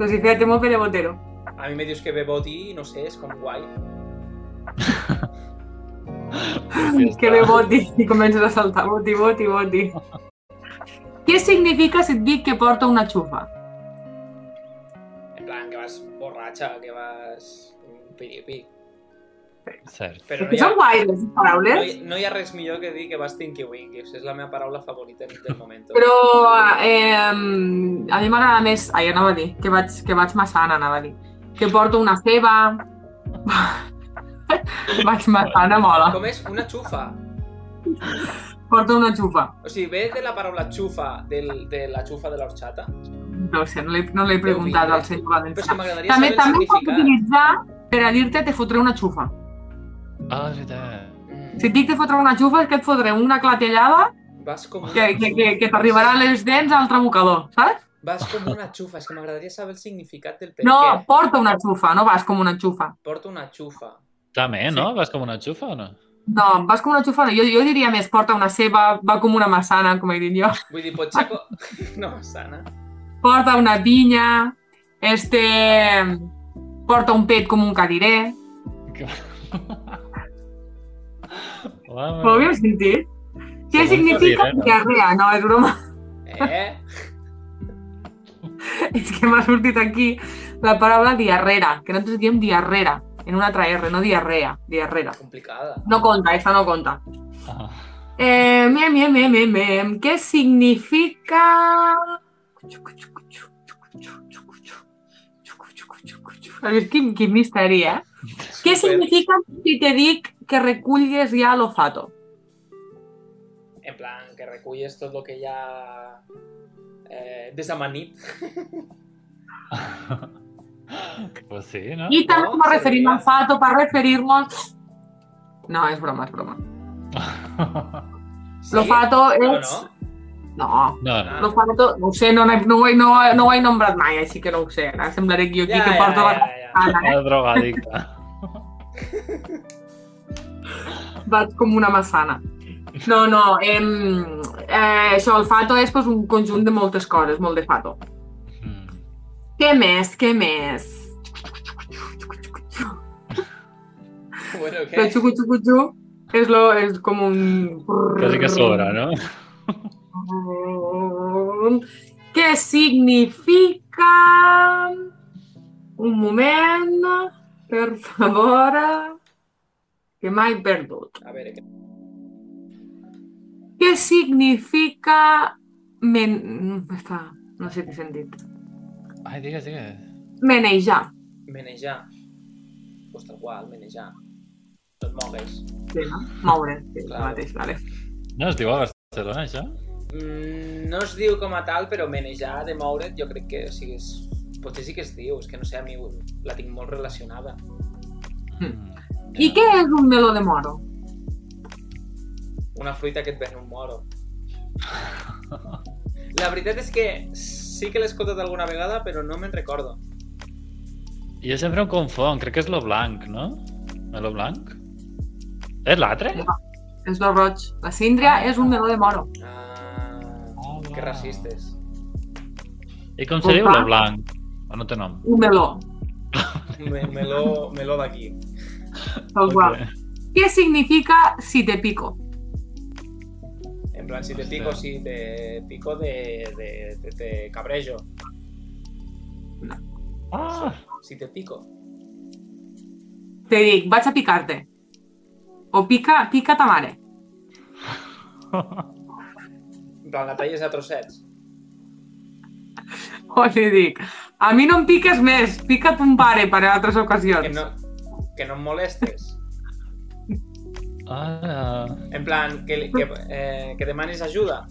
Speaker 1: Los dice, temo Pere Botero.
Speaker 3: A mi me dius que ve boti i no sé, és com guai.
Speaker 4: sí,
Speaker 1: que ve boti i comences a saltar boti, boti, boti. Què significa si et dic que porto una xufa?
Speaker 3: En plan, que vas borratxa, que vas... Piripi.
Speaker 4: Cert.
Speaker 3: Però
Speaker 1: Que són guai les
Speaker 3: No
Speaker 1: paraules,
Speaker 3: hi, no hi ha res millor que dir que vas Tinky Winkies, és la meva paraula favorita en aquest moment.
Speaker 1: però eh, a mi m'agrada més... Ai, anava a dir, que vaig, que vaig massana, anava a dir. Que porto una ceba... vaig massana, mola.
Speaker 3: Com és? Una xufa.
Speaker 1: Porto una xufa.
Speaker 3: O sigui, ve de la paraula xufa, del, de la xufa de l'orxata.
Speaker 1: No ho sé, no l'he no l'he preguntat al senyor
Speaker 3: Però és que
Speaker 1: Valencià.
Speaker 3: m'agradaria
Speaker 1: També,
Speaker 3: saber el
Speaker 1: també pots
Speaker 3: significat.
Speaker 1: utilitzar per a dir-te te fotré una xufa.
Speaker 4: Ah, és veritat.
Speaker 3: Mm,
Speaker 1: Si et dic te fotré una xufa és que et fotré una clatellada
Speaker 3: Vas com una
Speaker 1: que, que, que, que
Speaker 3: xufa.
Speaker 1: t'arribaran les dents al trabucador, saps?
Speaker 3: Vas com una xufa, és que m'agradaria saber el significat del per
Speaker 1: No,
Speaker 3: què.
Speaker 1: porta una xufa, no vas com una xufa.
Speaker 3: Porto una xufa.
Speaker 4: També, no? Vas com una xufa o no?
Speaker 1: No, vas com una xufa, no. Jo, jo diria més, porta una ceba, va com una massana, com he dit jo.
Speaker 3: Vull dir, pot ser... Co... No, sana.
Speaker 1: Porta una pinya, este... Porta un pet com un cadirer.
Speaker 4: Uau,
Speaker 1: Ho havíem sentit? Què
Speaker 4: Com un
Speaker 1: significa
Speaker 4: cadirer, no?
Speaker 1: diarrea? No, és broma.
Speaker 3: Eh?
Speaker 1: és que m'ha sortit aquí la paraula diarrera, que nosaltres diem diarrera, en una altra R, no diarrea, diarrera.
Speaker 3: Complicada.
Speaker 1: No conta, esta no conta.
Speaker 4: Ah,
Speaker 1: Eh, mem, mem, mem, mem, mem. ¿Qué significa? A veure, quin, quin misteri, eh? Què
Speaker 3: Super.
Speaker 1: significa si te dic que reculles ja l'olfato?
Speaker 3: En plan, que reculles tot el que hi ha eh, desamanit.
Speaker 4: pues sí, no?
Speaker 1: I també
Speaker 3: Ah, No,
Speaker 1: no, referim
Speaker 3: seria-
Speaker 1: al fato per referir-nos... No, és broma, és broma.
Speaker 4: Ah.
Speaker 3: Sí? Ah,
Speaker 1: L'olfato
Speaker 3: No,
Speaker 1: és...
Speaker 3: no?
Speaker 1: No,
Speaker 4: No, no.
Speaker 1: l'olfato, no ho sé, no, n'he- no, ho he- no, no ho he nombrat mai, així que no ho sé. Ara semblaré que jo aquí
Speaker 3: Ja,
Speaker 1: que
Speaker 3: ja,
Speaker 1: porto la...
Speaker 3: ja, ja.
Speaker 1: Ara,
Speaker 4: Era drogadicte.
Speaker 1: vaig com una massana. No, no, em, eh, això, el fato és pues, un conjunt de moltes coses, molt de fato.
Speaker 4: Mm.
Speaker 1: Què més, què més?
Speaker 3: Bueno, què?
Speaker 1: El xucu xucu xu és, lo, és com un...
Speaker 4: Quasi que sobra, no?
Speaker 1: Què significa... Un moment, per favor, que mai perdut.
Speaker 3: A veure, què?
Speaker 1: Què significa... Men... mm, Està, no sé què he sentit.
Speaker 4: Ai, digues, digues.
Speaker 1: Menejar.
Speaker 3: Menejar. Pues tal qual, menejar. No et mogues.
Speaker 1: Sí, no? Moure, sí, el
Speaker 3: Clar.
Speaker 1: mateix, vale.
Speaker 4: No es diu a Barcelona, això?
Speaker 3: Mm, no es diu com a tal, però menejar, de moure't, jo crec que o sigui, és... potser sí que es diu, és que no sé, a mi ho- la tinc molt relacionada.
Speaker 4: Mm.
Speaker 1: I què és un meló de moro?
Speaker 3: Una fruita que et ven un moro. La veritat és que sí que l'he escoltat alguna vegada, però no me'n recordo.
Speaker 4: Jo sempre em confon, crec que és lo blanc, no? Melo blanc? És l'altre?
Speaker 1: És lo roig. La síndria és un meló de moro.
Speaker 3: Ah,
Speaker 4: Ah,
Speaker 3: que
Speaker 4: va.
Speaker 3: racistes.
Speaker 4: I com se diu
Speaker 1: Compa.
Speaker 4: lo blanc? O no té nom?
Speaker 1: Un meló,
Speaker 3: Me, meló meló d'aquí.
Speaker 1: tal qual.
Speaker 4: Ok.
Speaker 1: Què significa si te pico?
Speaker 3: En plan, si te
Speaker 4: Hòstia.
Speaker 3: pico, sí, te pico de, de, de, de cabrejo.
Speaker 4: Ah!
Speaker 3: Si te pico.
Speaker 1: Te dic, vaig a picar-te. O pica, pica ta mare.
Speaker 3: En plan, la talles a trossets.
Speaker 1: O li dic, a mi no em piques més, pica ton pare per a altres ocasions.
Speaker 3: Que no, que no em molestes.
Speaker 4: Ah!
Speaker 3: En plan, que, que, eh, que demanis ajuda.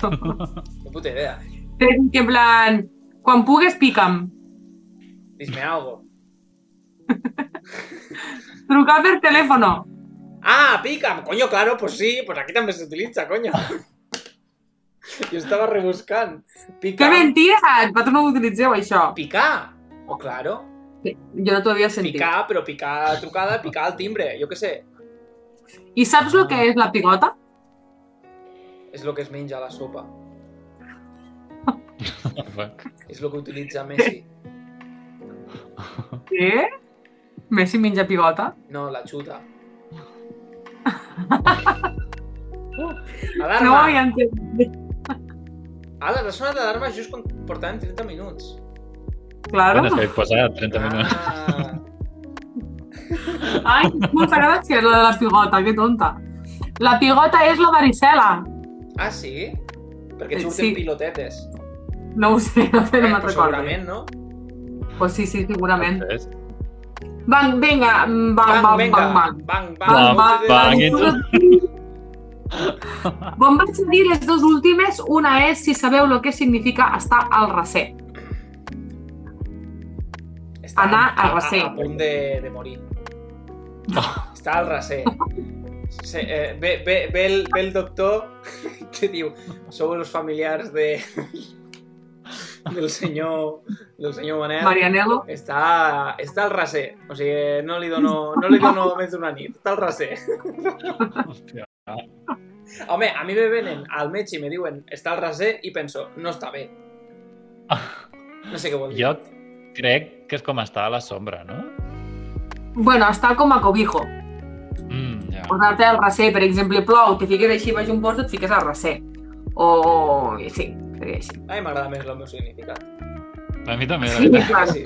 Speaker 3: Qué puta idea.
Speaker 1: Te dic, en plan, quan pugues, pica'm.
Speaker 3: Dime algo.
Speaker 1: Trucar per telèfono.
Speaker 3: ¡Ah, pica! Coño, claro, pues sí, pues aquí también se utiliza, coño. Yo estaba rebuscando.
Speaker 1: Que
Speaker 3: Pica.
Speaker 1: mentida! Vosaltres no ho utilitzeu, això.
Speaker 3: Pica. O Oh, claro.
Speaker 1: Jo no t'ho havia sentit.
Speaker 3: Pica, pero pica trucada, pica al timbre, yo qué sé.
Speaker 1: I saps el que és la pigota?
Speaker 3: Es lo que es menja a la sopa.
Speaker 4: Fuck.
Speaker 3: Es lo que utiliza Messi.
Speaker 1: Sí? Messi menja pigota?
Speaker 3: No, la chuta.
Speaker 1: No ho
Speaker 3: Alarma!
Speaker 1: havia entès.
Speaker 3: Ala, t'ha sonat l'alarma just quan portàvem 30 minuts.
Speaker 1: Claro.
Speaker 4: Bueno, és que he posat 30 minuts.
Speaker 3: Ah,
Speaker 1: Ai, molta gràcia, la de la pigota, que tonta. La pigota és la varicela.
Speaker 3: ah sí? Perquè et
Speaker 1: Eh,
Speaker 3: surten
Speaker 1: sí.
Speaker 3: pilotetes.
Speaker 1: No ho sé, no, sé, no me'n
Speaker 3: però
Speaker 1: recordo.
Speaker 3: Eh, segurament, no?
Speaker 1: Pues sí, sí, segurament.
Speaker 4: És-
Speaker 1: Bang, vinga, mm, bang,
Speaker 3: Bang,
Speaker 1: bang,
Speaker 3: venga.
Speaker 1: bang, bang.
Speaker 3: Bang,
Speaker 4: Bang,
Speaker 3: bang.
Speaker 4: bang, i tu.
Speaker 1: Bon vaig a dir les dues últimes, una és si sabeu el que significa estar al recer.
Speaker 3: Està
Speaker 1: Anar a
Speaker 3: a,
Speaker 1: recer.
Speaker 3: a punt de, de morir. Està al recer. Se, eh, ve, ve, ve, el, ve el doctor que diu sou els familiars de... del senyor, del senyor Manel.
Speaker 1: Marianelo,
Speaker 3: Està, està al recer. O sigui, no li dono, no li dono més d'una nit. Està al recer.
Speaker 4: Hòstia.
Speaker 3: Home, a mi me venen al metge i me diuen està al recer i penso, no està bé. No sé què vol dir.
Speaker 4: Ah, Jo crec que és com estar a la sombra, no?
Speaker 1: bueno, estar com a cobijo.
Speaker 4: Mm, ja.
Speaker 1: posar-te al recer, per exemple, plou, te fiques així baix un bosc, et fiques al recer. O, sí. segueix.
Speaker 3: A mi m'agrada més el meu significat.
Speaker 4: A mi també, la
Speaker 1: Sí,
Speaker 4: veritat.
Speaker 1: clar.
Speaker 3: Sí.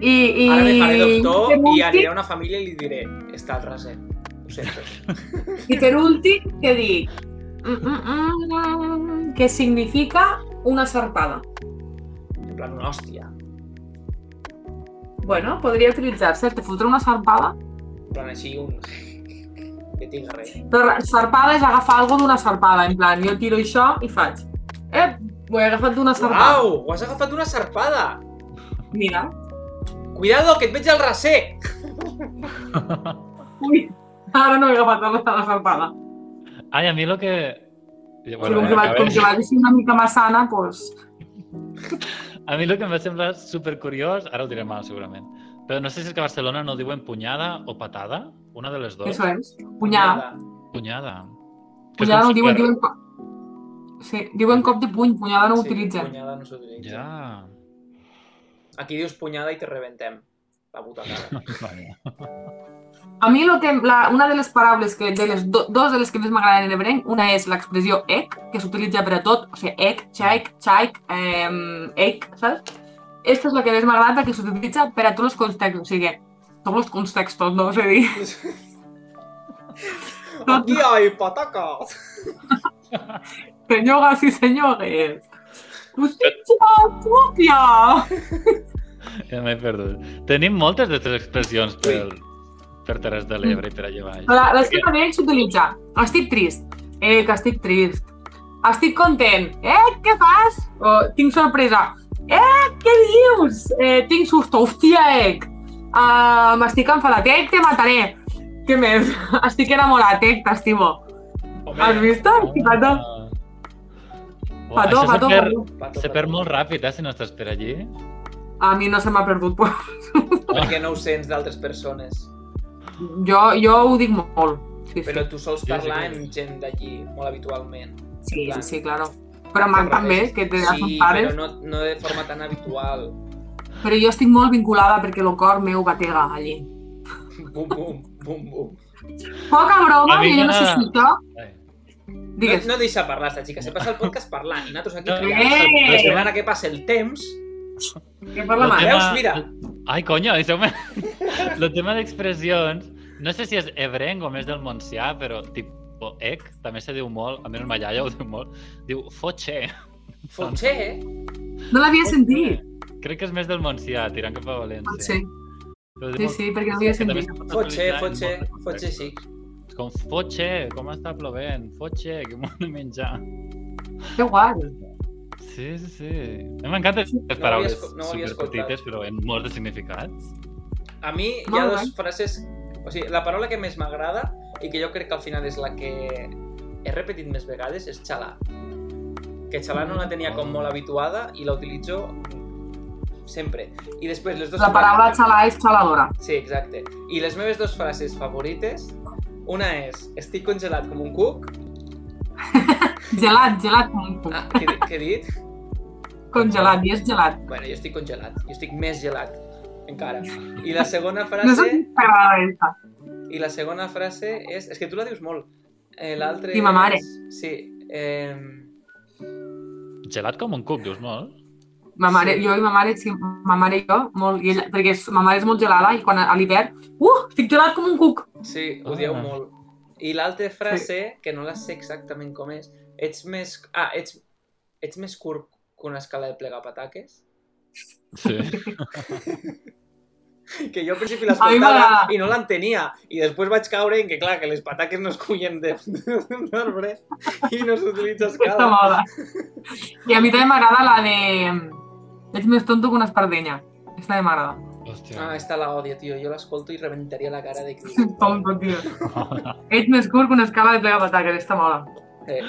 Speaker 1: I, i...
Speaker 3: Ara me faré doctor
Speaker 1: per
Speaker 3: i
Speaker 1: últim-
Speaker 3: aniré a una família i li diré està al raser. Ho sento.
Speaker 1: I per últim, què dic? Mm, mm, mm, que significa una sarpada.
Speaker 3: En plan, una hòstia.
Speaker 1: Bueno, podria utilitzar-se, te fotré una sarpada.
Speaker 3: En plan, així un... Que tinc res.
Speaker 1: Però sarpada és agafar alguna d'una sarpada, en plan, jo tiro això i faig. Ep, ho he agafat d'una sarpada.
Speaker 3: Uau, ho has agafat una serpada!
Speaker 1: Mira.
Speaker 3: Cuidado, que et veig al raser!
Speaker 1: Ui, ara no he agafat la, la sarpada.
Speaker 4: Ai, a mi el que...
Speaker 1: Bueno, com,
Speaker 4: eh,
Speaker 1: que va,
Speaker 4: a
Speaker 1: com
Speaker 4: veure.
Speaker 1: que va ser una mica més sana, doncs...
Speaker 4: A mi el que em va semblar supercuriós, ara ho diré mal segurament, però no sé si és que a Barcelona no diuen punyada o patada, una de les dues.
Speaker 1: Això és. Punyada.
Speaker 4: Punyada. Que és
Speaker 1: Punyada no
Speaker 4: com
Speaker 1: ho diuen,
Speaker 4: super-
Speaker 1: diuen... cop- Sí, diuen cop de puny, punyada no ho
Speaker 3: Sí,
Speaker 1: utilitzen.
Speaker 3: Punyada no s'utilitza.
Speaker 4: Ja.
Speaker 3: Aquí dius punyada i te rebentem. La puta cara.
Speaker 4: Vaja.
Speaker 1: A mi lo que, la, una de les paraules, que, de les do, dos de les que més m'agraden en ebrenc, una és l'expressió ek, que s'utilitza per a tot, o sigui, ek, chaik, chaik, ehm, ek, saps? Aquesta és la que més m'agrada, que s'utilitza per a tots els contextos, o sigui, tots els contextos, no? És a dir,
Speaker 3: Aquí hi ha patacas!
Speaker 1: senyores i senyores, Cositxa pròpia!
Speaker 4: Ja m'he perdut. Tenim moltes d'aquestes expressions per, per Terres de l'Ebre i per allà baix.
Speaker 1: La, la seva d'ell s'utilitza, estic trist, eh, que estic trist, estic content, eh, què fas? O, tinc sorpresa, eh, què dius? Eh, tinc susto, hòstia, eh, uh, m'estic enfadat, eh, te mataré. Què més? Estic enamorat, eh, t'estimo. Has vist? Pató,
Speaker 4: Ah. Uau,
Speaker 1: pató,
Speaker 4: això se
Speaker 1: pató,
Speaker 4: perd-
Speaker 1: pató.
Speaker 3: Pato,
Speaker 4: Se perd molt ràpid, eh, si no estàs per allí.
Speaker 1: A mi no se m'ha perdut. però
Speaker 3: Perquè no ho sents d'altres persones.
Speaker 1: Jo, jo ho dic molt. Sí, sí,
Speaker 3: Però tu sols
Speaker 4: Sí, sí,
Speaker 3: parlar
Speaker 4: sí.
Speaker 3: amb gent d'allí, molt habitualment.
Speaker 1: sí, sí, sí claro. Però m'han també, que te sí,
Speaker 3: Sí,
Speaker 1: pares.
Speaker 3: però no, no de forma tan habitual.
Speaker 1: Però jo estic molt vinculada perquè el cor meu batega allí.
Speaker 3: Bum, bum, bum, bum.
Speaker 1: Poca broma,
Speaker 4: A mi
Speaker 1: jo no sé
Speaker 4: m'agrada-
Speaker 1: si això...
Speaker 4: Ai.
Speaker 3: No,
Speaker 1: Digues.
Speaker 3: no deixa parlar esta xica, se passa el podcast parlant. I nosaltres aquí
Speaker 4: No,
Speaker 3: criats,
Speaker 1: eh!
Speaker 3: la setmana que passa el temps...
Speaker 1: Què parla
Speaker 4: El
Speaker 1: mal?
Speaker 3: mare. Veus? Mira.
Speaker 4: Ai, coño, deixeu-me... el tema d'expressions, no sé si és ebrenc o més del Montsià, però tipo ec, també se diu molt, almenys ma iaia ho diu molt, diu fotxe.
Speaker 3: Fotxer, eh?
Speaker 1: No l'havia sentit.
Speaker 4: Crec que és més del Montsià, tirant cap a València.
Speaker 1: Potser.
Speaker 4: Però diu
Speaker 1: Sí,
Speaker 4: molt-
Speaker 1: sí, perquè no
Speaker 4: que
Speaker 1: l'havia
Speaker 4: també
Speaker 1: sentit.
Speaker 4: se pot
Speaker 3: Fotxer,
Speaker 4: utilitzar en
Speaker 3: fotxer,
Speaker 4: molts
Speaker 3: fotxer
Speaker 4: contextos.
Speaker 3: sí.
Speaker 4: Com fotxe, com està plovent, fotxe, que m'ho de menjar.
Speaker 1: Que guai.
Speaker 4: Sí, sí, sí. A mi m'encanten les
Speaker 3: havia
Speaker 4: paraules
Speaker 3: esco- no ho havia
Speaker 4: superpetites, però en molts de significats.
Speaker 3: A mi hi ha
Speaker 1: Molt
Speaker 3: dues
Speaker 1: bé.
Speaker 3: frases... O sigui, la paraula que més m'agrada i que jo crec que al final és la que he repetit més vegades és xalar. Que xalar no la tenia com molt habituada i la utilitzo sempre. I després les dues...
Speaker 1: La paraula xalar és xaladora.
Speaker 3: Sí, exacte. I les meves dues frases favorites, una és estic congelat com un cuc,
Speaker 1: Gelat, gelat, com un
Speaker 3: ah,
Speaker 1: cuc.
Speaker 3: què, he- què he dit?
Speaker 1: Congelat, i és gelat.
Speaker 3: Bueno, jo estic congelat, jo estic més gelat encara. I la segona
Speaker 1: No sé
Speaker 3: frase,
Speaker 1: si t'agrada aquesta.
Speaker 3: i la segona frase és, és que tu la dius molt. Eh, l'altre
Speaker 1: I ma mare.
Speaker 3: és- Sí, eh,
Speaker 4: Gelat com un cuc, dius molt.
Speaker 1: Ma mare, jo i ma mare, sí, ma mare i jo, molt, i ella, perquè és- ma mare és molt gelada i quan a, a l'hivern, uh, estic gelat com un cuc.
Speaker 3: sí, ho dieu
Speaker 4: Ah.
Speaker 3: molt. I l'altra frase, que no la sé exactament com és, ets més... Ah, ets, ets més curt que una escala de plegapataques?
Speaker 4: Sí.
Speaker 3: Que jo al
Speaker 1: A
Speaker 3: principi
Speaker 1: mi
Speaker 3: l'escoltava
Speaker 1: m'agrada.
Speaker 3: i no l'entenia. I després vaig caure en que, clar, que les pataques no es cullen de- d'un arbre i no s'utilitza
Speaker 1: Aquesta
Speaker 3: escala.
Speaker 1: moda. I a mi també m'agrada la de... Ets més tonto que una espardenya. Aquesta també m'agrada.
Speaker 4: Hòstia.
Speaker 3: Ah, esta la odio, tio. Jo l'escolto i reventaria la cara de qui...
Speaker 1: Tonto, tio. Ets més curt que una escala de plegapataques, aquesta mola.
Speaker 3: Eh,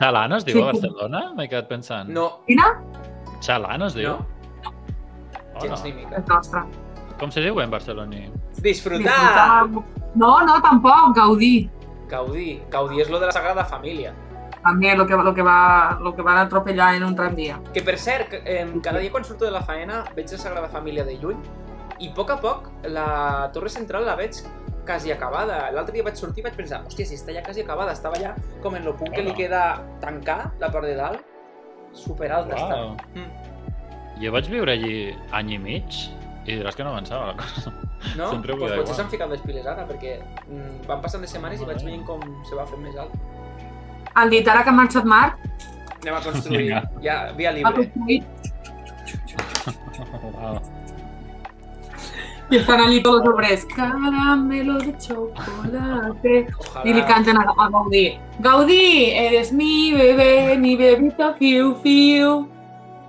Speaker 4: Xalà no es
Speaker 1: Sí.
Speaker 4: diu a Barcelona? M'he quedat pensant.
Speaker 3: no,
Speaker 1: Quina?
Speaker 4: Xalà no es diu?
Speaker 3: no, gens ni mica.
Speaker 1: És nostra.
Speaker 4: Com se diu en barceloní?
Speaker 3: Disfrutar!
Speaker 1: No, no, tampoc, gaudir.
Speaker 3: Gaudí. Gaudí és lo de la Sagrada Família.
Speaker 1: També lo que, lo que, va, lo que van atropellar en un tramvia.
Speaker 3: Que, per cert, que, em, cada dia quan surto de la faena veig la Sagrada Família de lluny i a poc a poc la Torre Central la veig quasi acabada. L'altre dia vaig sortir i vaig pensar, hòstia, si està ja quasi acabada, estava ja com en lo punt que li
Speaker 4: Hola.
Speaker 3: queda tancar la part de dalt super alta
Speaker 4: Uau.
Speaker 3: està. Mm.
Speaker 4: Jo vaig viure allí any i mig i diràs que no avançava la cosa.
Speaker 3: No?
Speaker 4: Sempre ho
Speaker 3: pues
Speaker 4: eh? dirà
Speaker 3: potser
Speaker 4: igual.
Speaker 3: s'han ficat les piles ara, perquè mm, van passant les setmanes i vaig veient com se va fent més alt.
Speaker 1: Han dit ara que ha marxat Marc,
Speaker 3: Anem a construir,
Speaker 4: Vinga.
Speaker 3: ja, via
Speaker 1: ha
Speaker 3: libre.
Speaker 1: construït
Speaker 4: Uau.
Speaker 1: i estan allí tots els obrers. Caramelo de chocolate. I li
Speaker 3: Ojalà.
Speaker 1: canten a, a Gaudí. Gaudí, eres mi bebé, mi bebito fiu fiu,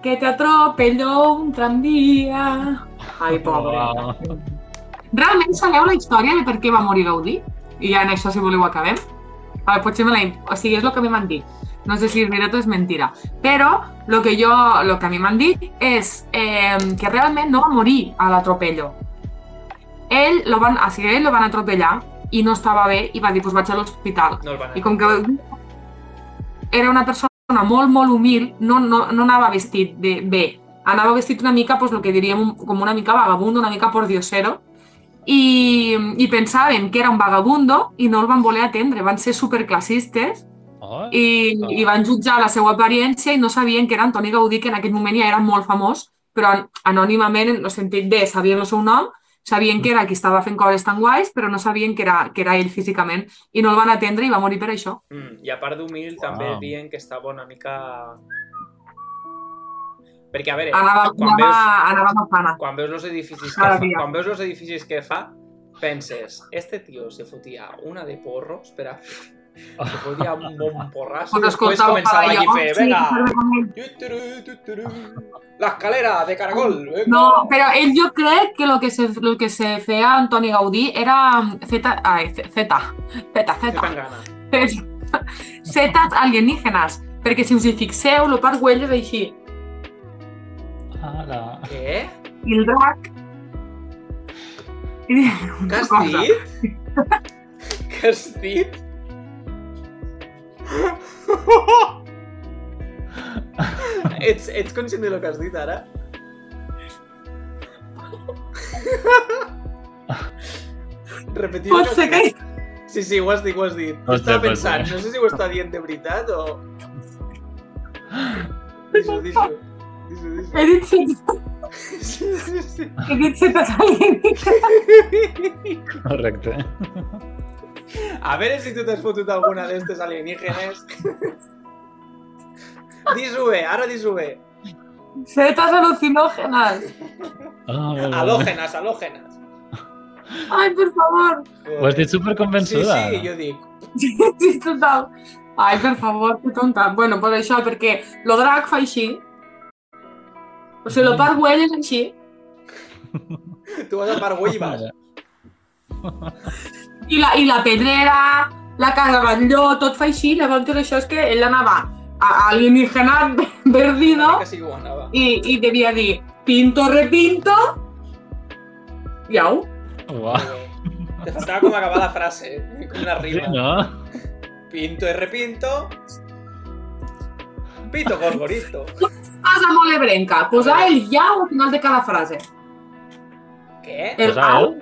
Speaker 1: que te atropelló un tranvía. Ai, pobre.
Speaker 4: Uau.
Speaker 1: Realment sabeu la història de per què va morir Gaudí? I ja en això, si voleu, acabem. A veure, potser me la... in- O sigui, és el que a mi m'han dit. No sé si és veritat o és mentira. Però el que, jo, lo que a mi m'han dit és eh, que realment no va morir a l'atropello. Ell, lo van, o sigui, ell lo van atropellar i no estava bé i va dir, doncs vaig a l'hospital.
Speaker 3: No el van
Speaker 1: I com que era una persona molt, molt humil, no, no, no anava vestit de, bé. Anava vestit una mica, pues, el que diríem, un- com una mica vagabundo, una mica pordiosero, i, i pensaven que era un vagabundo i no el van voler atendre. Van ser superclassistes
Speaker 4: Oh,
Speaker 1: i, i van jutjar la seva apariència i no sabien que era Antoni Gaudí, que en aquell moment ja era molt famós, però an- anònimament, en el sentit de sabien el seu nom, sabien que era qui estava fent coses tan guais, però no sabien que era, que era ell físicament i no el van atendre i va morir per això.
Speaker 3: Mm, I a part d'humil, també
Speaker 4: Uau.
Speaker 3: diuen que estava una mica... Perquè, a eh, veure,
Speaker 1: Anava,
Speaker 3: quan
Speaker 1: anava,
Speaker 3: veus,
Speaker 1: anava mafana.
Speaker 3: quan veus els edificis que
Speaker 1: Cada
Speaker 3: fa,
Speaker 1: dia.
Speaker 3: quan veus els edificis que fa, penses, este tio se fotia una de porro, espera, se fotia un bon porrasso,
Speaker 1: Quan
Speaker 3: i després
Speaker 1: escoltava
Speaker 3: començava Pues allí a fer,
Speaker 1: sí,
Speaker 3: venga,
Speaker 1: estava com ell.
Speaker 3: tuturu, tuturu, la escalera de caragol, venga.
Speaker 1: No, però ell jo crec que el que se, lo que se feia a Antoni Gaudí era mm, feta, ai, fe- feta, feta,
Speaker 3: Que
Speaker 1: feta,
Speaker 3: tan gana.
Speaker 1: feta, fetes alienígenes, perquè si us hi fixeu, el Parc Güell és així.
Speaker 4: Ara.
Speaker 3: Què?
Speaker 1: I el drac... I
Speaker 3: Què has
Speaker 1: Cosa.
Speaker 3: dit? Què has dit? ets, ets conscient del que has dit ara? Repetir
Speaker 1: Pot ser que...
Speaker 3: Sí, sí, ho has dit, ho has dit. Ho
Speaker 4: Pot ser,
Speaker 3: estava
Speaker 4: pot
Speaker 3: pensant,
Speaker 4: ser.
Speaker 3: no sé si ho està dient de veritat o... Dis-ho, dis-ho. Dis-ho,
Speaker 1: He dit fetes,
Speaker 3: dis-ho. Sí, sí,
Speaker 1: he dit fetes alienígenes.
Speaker 3: sí.
Speaker 4: Correcte.
Speaker 3: A veure si tu t'has fotut alguna d'estes alienígenes. Dis-ho bé, ara dis-ho bé.
Speaker 1: Fetes al·lucinògenes.
Speaker 4: Ah, vale, vale.
Speaker 3: Halògenes, halògenes.
Speaker 1: Ai, per favor.
Speaker 4: Ho has dit
Speaker 3: Sí,
Speaker 4: superconvençuda.
Speaker 3: sí, jo dic.
Speaker 1: Sí, sí, total. Ai, per favor, que tonta. Bueno, per això, perquè lo drac fa així. O sigui, lo Park Güell és així.
Speaker 3: Tu vas a Pargull i vas.
Speaker 1: I la, i la pedrera, la casa Batlló, tot fa així. Llavors, això és que ell anava a- alienígena perdido
Speaker 3: Que sí que ho anava.
Speaker 1: i, i devia dir pinto, repinto, iau.
Speaker 4: Uau.
Speaker 3: Te faltava com acabar la frase, com una
Speaker 4: Sí,
Speaker 3: rima.
Speaker 4: no?
Speaker 3: Pinto e repinto. Pito gorgorito.
Speaker 1: Casa molt ebrenca, posar el iau al final de cada frase.
Speaker 3: Què?
Speaker 1: El
Speaker 4: Posar el?
Speaker 1: au,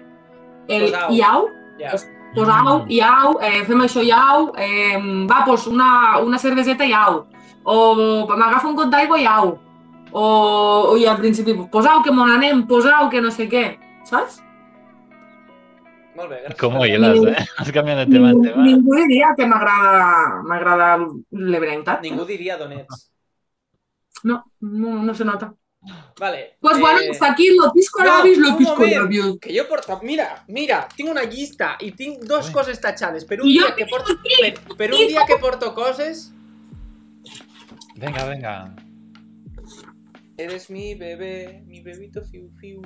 Speaker 1: el
Speaker 3: Posar el.
Speaker 1: iau,
Speaker 3: Ja.
Speaker 1: pues
Speaker 3: Mm.
Speaker 1: au, i au, eh, fem això i au, eh, va, pues una, una cerveseta i au, o m'agafa un cop d'aigua i au, o, o i al principi, pues au, que mon anem, pues au, que no sé què, saps?
Speaker 3: Molt bé, gràcies.
Speaker 4: Com ho hiles, eh? Has canviat de tema en tema.
Speaker 1: Ningú diria que m'agrada m'agrada l'ebrenca.
Speaker 3: Ningú diria d'on ets.
Speaker 1: No, no, no se nota.
Speaker 3: Vale.
Speaker 1: Pues
Speaker 3: eh,
Speaker 1: bueno, està aquí lo pisco labios,
Speaker 3: no,
Speaker 1: lo
Speaker 3: un
Speaker 1: pisco
Speaker 3: moment.
Speaker 1: labios.
Speaker 3: Que jo porto... Mira, mira, tinc una llista i tinc dos
Speaker 4: Ui.
Speaker 3: coses tatxades. Per un,
Speaker 1: I jo
Speaker 3: dia que porto, per, per un dia que porto coses...
Speaker 4: Vinga, vinga.
Speaker 3: Eres mi bebé, mi bebito fiu fiu.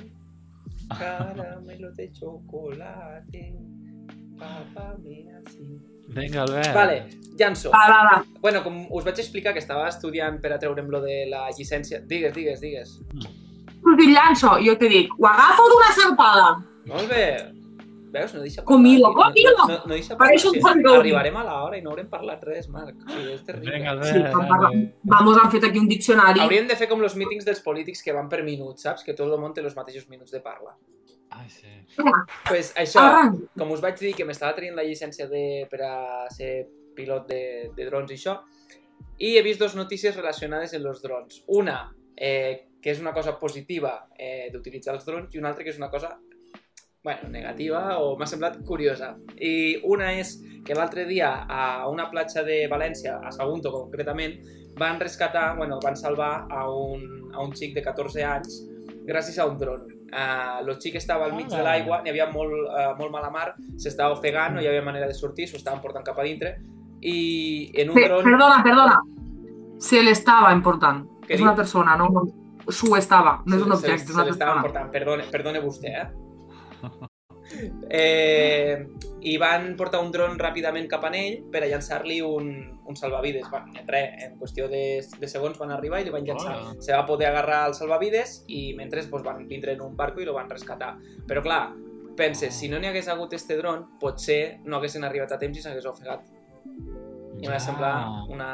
Speaker 3: Caramelo de chocolate. Pápame así.
Speaker 4: Vinga, Albert.
Speaker 3: Vale, llanço.
Speaker 1: Va, va, va.
Speaker 3: Bueno, com us vaig explicar que estava estudiant per a treure'm lo de la llicència... Digues, digues, digues.
Speaker 1: Us dic llanço, jo te dic, ho agafo d'una sarpada.
Speaker 3: Molt bé. Veus? No deixa parlar.
Speaker 1: Comilo,
Speaker 3: tio. No-
Speaker 1: comilo.
Speaker 3: No, no deixa
Speaker 1: Pareix un
Speaker 3: parlar.
Speaker 1: fangol.
Speaker 3: Arribarem a l'hora i no haurem parlat res, Marc. Sí, és terrible.
Speaker 4: Vinga,
Speaker 1: Sí, quan
Speaker 4: Albert.
Speaker 1: parlem. Vamos, han fet aquí un diccionari.
Speaker 3: Hauríem de fer com els mítings dels polítics que van per minut, saps? Que tot el món té els mateixos minuts de parla.
Speaker 4: Ai, sí.
Speaker 3: pues això,
Speaker 1: Arran.
Speaker 3: com us vaig dir que m'estava traient la llicència de, per a ser pilot de, de drons i això, Y he visto dos noticias relacionades en los drones. Una, eh, que és una cosa positiva eh, d'utilitzar els drons, i una altra que és una cosa bueno, negativa o m'ha semblat curiosa. I una és que l'altre dia a una platja de València, a Sagunto concretament, van rescatar, bueno, van salvar a un, a un xic de 14 anys gràcies a un dron. Uh, el xic estava al mig de l'aigua, n'hi havia molt, uh, molt mala mar, s'estava ofegant, no hi havia manera de sortir, s'ho estaven portant cap a dintre, i en un
Speaker 1: Sí,
Speaker 3: dron...
Speaker 1: Perdona, perdona. Se le estaba important.
Speaker 3: Què
Speaker 1: És una
Speaker 3: dic?
Speaker 1: persona, no su estava, no és un objecte, és una persona.
Speaker 3: l'estava portant, perdone, perdone vostè, eh? eh? I van portar un dron ràpidament cap a ell per a llançar-li un, un salvavides. Bueno, en res, en qüestió de, de segons van arribar i li van llançar.
Speaker 4: Hola.
Speaker 3: Se va poder agarrar el salvavides i mentre pues, van vindre en un barco i lo van rescatar. Però clar, penses, si no n'hi hagués hagut este dron, potser no haguessin arribat a temps i s'hagués ofegat. I m'ha
Speaker 4: Ah.
Speaker 3: semblat una,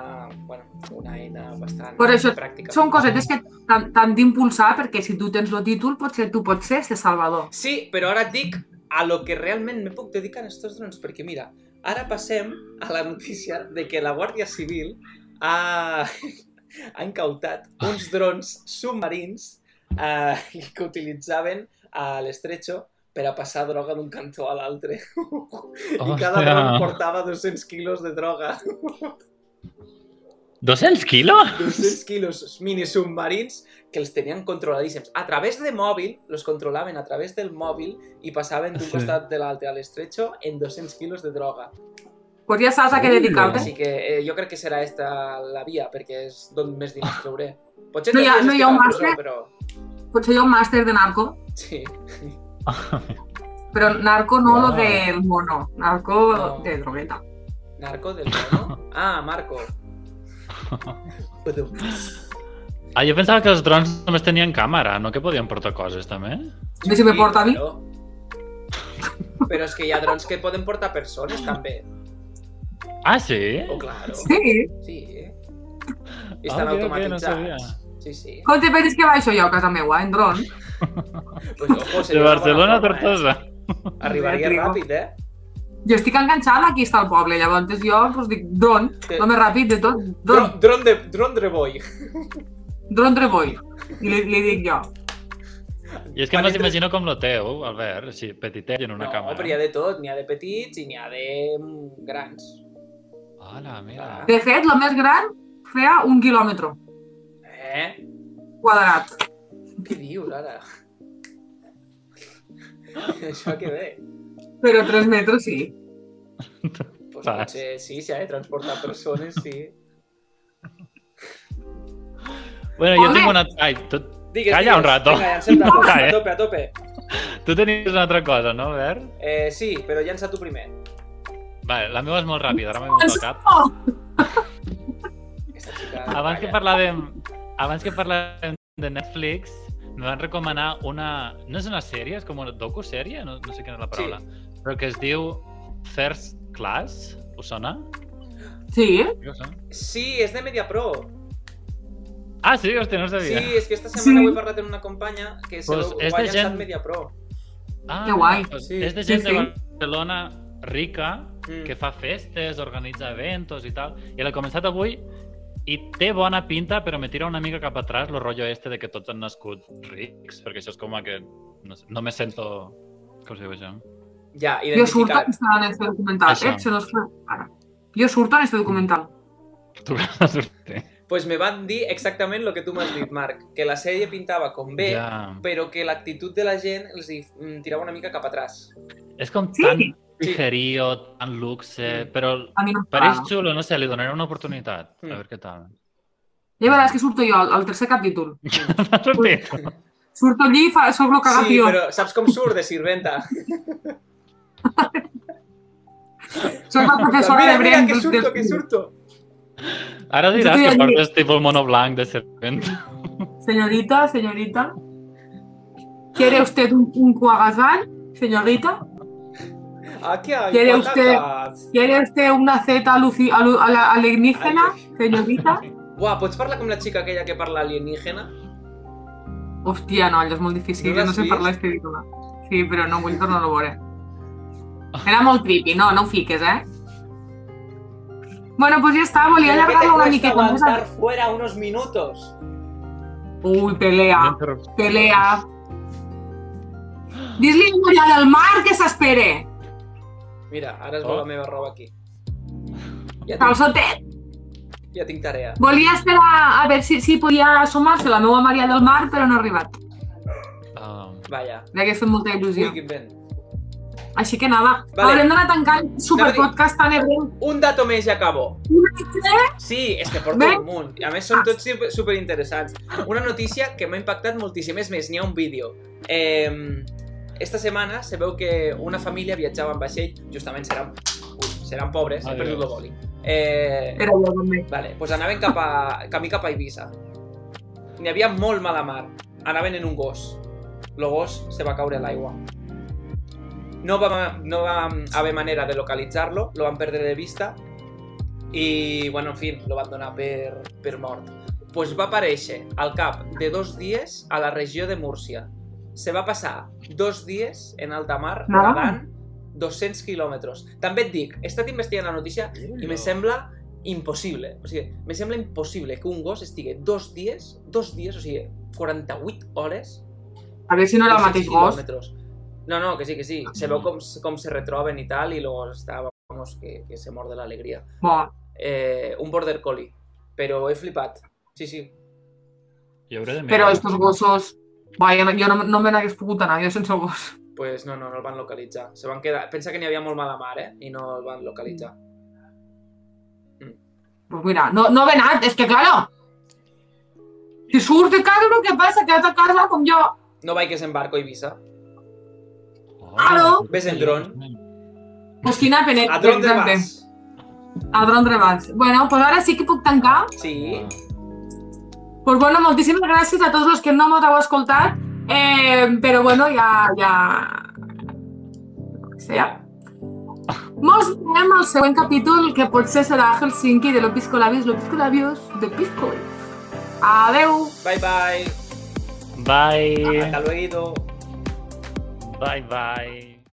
Speaker 3: bueno, una eina bastant
Speaker 1: Per això
Speaker 3: pràctica.
Speaker 1: Són cosetes que t'han t'han d'impulsar perquè si tu tens el títol potser tu pots ser este salvador.
Speaker 3: Sí, però ara et dic a lo que realment me puc dedicar en estos drons, perquè mira, ara passem a la notícia de que la Guàrdia Civil ha, ha incautat uns drons submarins eh, que utilitzaven a l'estretxo per a passar droga d'un cantó a l'altre. I cada dron portava 200 quilos de droga.
Speaker 4: 200 quilos?
Speaker 3: 200 quilos mini submarins que els tenien controladíssims. A través de mòbil, los controlaven a través del mòbil i passaven d'un
Speaker 4: Sí.
Speaker 3: costat de l'altre a l'estretxo en 200 quilos de droga.
Speaker 1: Pues ja saps a què
Speaker 4: Ui,
Speaker 1: dedicar-te.
Speaker 3: Així que eh, jo crec que serà esta la via, perquè és d'on més diners trauré. Potser
Speaker 1: Ah. No hi ha-
Speaker 3: també
Speaker 1: no hi ha
Speaker 3: estic a
Speaker 1: un
Speaker 3: la presó,
Speaker 1: marge?
Speaker 3: Però...
Speaker 1: Potser jo un màster de narco,
Speaker 3: Sí.
Speaker 1: però narco no lo
Speaker 4: Ah.
Speaker 1: del mono, narco
Speaker 3: No.
Speaker 1: de drogueta.
Speaker 3: Narco del mono? Ah, Marco. Perdó.
Speaker 4: Ah, jo pensava que els drons només tenien càmera, no que podien portar coses, també?
Speaker 1: No sé si me porta a mi.
Speaker 3: Claro. Però és que hi ha drons que poden portar persones, també.
Speaker 4: Ah, sí?
Speaker 3: Oh, claro.
Speaker 1: Sí.
Speaker 3: Sí. I estan
Speaker 4: Ah, mira, que no
Speaker 3: automatitzats.
Speaker 4: sabia.
Speaker 3: sí, sí.
Speaker 1: Com te penses que va això jo a casa meua, en dron?
Speaker 3: Pues, ojo,
Speaker 4: De
Speaker 3: seria una
Speaker 4: Barcelona a
Speaker 3: bona forma,
Speaker 4: Tortosa.
Speaker 3: Eh? Arribaria
Speaker 1: Arriba.
Speaker 3: ràpid, eh?
Speaker 1: Jo estic enganxada, aquí està el poble, llavors jo doncs, dic dron,
Speaker 3: Sí.
Speaker 1: el més ràpid de tot, dron,
Speaker 3: Dron, dron de, dron de boy.
Speaker 1: dron treboi. I li, li dic jo,
Speaker 4: I és que
Speaker 3: Van
Speaker 4: me'ls
Speaker 3: entre-
Speaker 4: imagino com lo teu, Albert, així, petitet i en una
Speaker 3: no,
Speaker 4: càmera.
Speaker 3: però hi ha de tot. N'hi ha de petits i n'hi ha de mm, grans.
Speaker 4: Hola,
Speaker 3: Ah.
Speaker 4: mira.
Speaker 1: De fet, el més gran feia un quilòmetre
Speaker 3: Eh?
Speaker 1: quadrat.
Speaker 3: Què dius, ara? Això que bé.
Speaker 1: Però 3 metres sí.
Speaker 3: Pues
Speaker 4: Vas.
Speaker 3: potser sí, s'ha de transportar persones, sí.
Speaker 4: Bueno, jo
Speaker 1: Home!
Speaker 4: tinc una... Ai, tu,
Speaker 3: Digues,
Speaker 4: Calla un
Speaker 3: digues.
Speaker 4: rato.
Speaker 3: Vinga, llancem a tope,
Speaker 4: Calla, eh?
Speaker 3: a tope, a tope.
Speaker 4: tu tenies una altra cosa, no, Albert?
Speaker 3: Eh, sí, però llança tu primer.
Speaker 4: Vale, la meva és molt ràpida, ara m'he vingut al cap.
Speaker 1: Oh,
Speaker 3: Aquesta xica...
Speaker 4: Abans que
Speaker 3: calla.
Speaker 4: parlàvem, abans que parlàvem de Netflix, me van recomanar una... No és una sèrie, és com una docu-sèrie, no, no sé quina és la paraula, però que es diu First Class, us sona?
Speaker 1: sí?
Speaker 4: Jo sona.
Speaker 3: Sí, és de Mediapro.
Speaker 4: Ah, sí? Hòstia, no ho
Speaker 3: Sí,
Speaker 4: sabia.
Speaker 3: és que esta setmana
Speaker 1: Sí.
Speaker 3: ho he parlat amb una companya que se
Speaker 4: Pues
Speaker 3: lo, ho
Speaker 4: és
Speaker 3: ha
Speaker 4: de
Speaker 3: llançat
Speaker 4: gent-
Speaker 3: Mediapro.
Speaker 4: Ah,
Speaker 1: Que guai.
Speaker 4: Doncs
Speaker 3: Sí.
Speaker 4: És de
Speaker 1: Sí,
Speaker 4: gent
Speaker 1: sí.
Speaker 4: de Barcelona rica,
Speaker 3: Mm.
Speaker 4: que fa festes, organitza eventos i tal, i l'he començat avui i té bona pinta, però me tira una mica cap atràs el rotllo este de que tots han nascut rics, perquè això és com a que no, sé, no me sento... Com se diu això?
Speaker 3: Ja,
Speaker 1: Jo surto
Speaker 3: identificat.
Speaker 1: en este documental.
Speaker 4: Això.
Speaker 1: Eh? Se nos fa ara. Jo surto en este documental.
Speaker 4: Tu vas a sortir.
Speaker 3: Pues me van dir exactament el que tu m'has dit, Marc, que la sèrie pintava com bé, ja.
Speaker 4: Ja.
Speaker 3: però que l'actitud de la gent els hi mm, tirava una mica cap atrás.
Speaker 4: És com
Speaker 1: Sí.
Speaker 4: tan
Speaker 1: Sí. Ah.
Speaker 4: ligerio, tan luxe,
Speaker 3: Mm.
Speaker 4: però
Speaker 1: A mi no em
Speaker 4: pareix
Speaker 1: parava.
Speaker 4: xulo, no sé, li donaré una oportunitat. A
Speaker 1: Hmm.
Speaker 3: Mm.
Speaker 4: veure què tal.
Speaker 1: Ja veuràs que surto jo al, al tercer capítol.
Speaker 4: T'has sortit?
Speaker 1: Surto allí i fa, soc lo cagat
Speaker 3: Sí,
Speaker 1: jo.
Speaker 3: però saps com surt de sirventa?
Speaker 1: Soc la professora
Speaker 3: mira,
Speaker 1: de
Speaker 3: mira,
Speaker 1: Brent.
Speaker 3: que
Speaker 1: del-
Speaker 3: surto,
Speaker 1: del-
Speaker 3: que surto.
Speaker 4: Ara diràs
Speaker 1: Jo
Speaker 4: que
Speaker 1: estic aquí.
Speaker 4: portes tipus mono blanc de serpent.
Speaker 1: Señorita, señorita. ¿Quiere usted un, un cuagazán, señorita?
Speaker 3: Aquí Ah, hay
Speaker 1: Quiere
Speaker 3: patatas.
Speaker 1: ¿Quiere usted una zeta aluci- alu- a la- alienígena, señorita?
Speaker 3: Uah, pots parlar com la xica aquella que parla alienígena?
Speaker 1: Hòstia, no, allò és molt difícil,
Speaker 3: No
Speaker 1: jo no
Speaker 3: l'has
Speaker 1: sé
Speaker 3: vist?
Speaker 1: parlar este idioma. Sí, però no vull tornar
Speaker 3: Ah.
Speaker 1: a veure. Era molt creepy, no, no ho fiques, eh? Bueno, pues ya está, volví a
Speaker 7: ¿Pero qué te
Speaker 1: alargarlo una
Speaker 7: cuesta
Speaker 1: miqueta. Vamos a-
Speaker 7: aguantar fuera unos minutos.
Speaker 1: Uy, pelea, pelea. Dis-li a Maria del Mar que s'espere.
Speaker 3: Mira, ara es veu
Speaker 4: Oh.
Speaker 3: la meva roba aquí. Ja tinc,
Speaker 1: Calçotet.
Speaker 3: ja tinc tarea.
Speaker 1: Volia esperar a veure si, si podia assomar-se la meva Maria del Mar, però no ha arribat.
Speaker 4: Um,
Speaker 3: Vaja.
Speaker 1: M'hagués fet molta
Speaker 3: Ui,
Speaker 1: il·lusió.
Speaker 3: quin vent.
Speaker 1: Així que nada,
Speaker 3: Vale.
Speaker 1: haurem d'anar tancant superpodcast tan hebreu.
Speaker 3: Un dato més i acabo.
Speaker 1: Una
Speaker 3: Sí, és que porto
Speaker 1: Bé.
Speaker 3: un munt. I A més, són tots super- superinteressants. Una notícia que m'ha impactat moltíssim. És més, n'hi ha un vídeo. Eh, esta setmana se veu que una família viatjava en vaixell, justament seran, ui, seran pobres, he
Speaker 4: Ai,
Speaker 3: perdut el
Speaker 4: Déu.
Speaker 3: boli. Eh,
Speaker 1: Era jo també.
Speaker 3: Vale, doncs anaven cap a, camí cap a Eivissa. N'hi havia molt mala mar. Anaven en un gos. El gos se va caure a l'aigua. No va, no va haver manera de localitzar-lo, lo van perdre de vista i, bueno, en fi, lo van donar per, per mort. Pues va aparèixer al cap de dos dies a la regió de Múrcia. Se va passar dos dies en alta mar
Speaker 1: No.
Speaker 3: nadant 200 quilòmetres. També et dic, he estat investigant la notícia i me sembla impossible. O sigui, me sembla impossible que un gos estigui dos dies, dos dies, o sigui, 48 hores...
Speaker 1: A veure si no era el
Speaker 3: 200
Speaker 1: mateix gos.
Speaker 3: quilòmetres. No, no, que sí, que sí. Se veu com, com se retroben i tal, i luego està, vamos, que, que se mor de l'alegria.
Speaker 1: Bon.
Speaker 3: Eh, un border collie. Però he flipat. Sí, sí.
Speaker 4: jo hauré de mirar.
Speaker 1: Però estos gossos... Vaja, jo no, no me n'hagués pogut anar, jo sense el gos.
Speaker 3: Pues no, no, no el van localitzar. Se van quedar... Pensa que n'hi havia molt mala mar, eh? I no el van localitzar.
Speaker 1: Pues mira, no, no ve nada, es que claro. Si surte, cabrón, ¿qué pasa? Quédate a casa con yo.
Speaker 3: No vaig en barco a Eivissa.
Speaker 4: Oh,
Speaker 1: Claro.
Speaker 3: Ves en dron.
Speaker 1: Pues quina penet.
Speaker 3: A dron de vas.
Speaker 1: A dron de vas. Bueno, pues ahora sí que puc tancar.
Speaker 3: Sí.
Speaker 1: Pues bueno, moltíssimes gràcies a tots els que no m'ho heu escoltat. Eh, però bueno, ja... ja... Sí, ja. Mos veiem al següent capítol, que potser serà Helsinki de l'Opis Colabios, l'Opis Colabios de Pisco. Adeu!
Speaker 3: Bye, bye.
Speaker 4: Bye.
Speaker 3: Ah, Hasta luego.
Speaker 4: Bye, bye.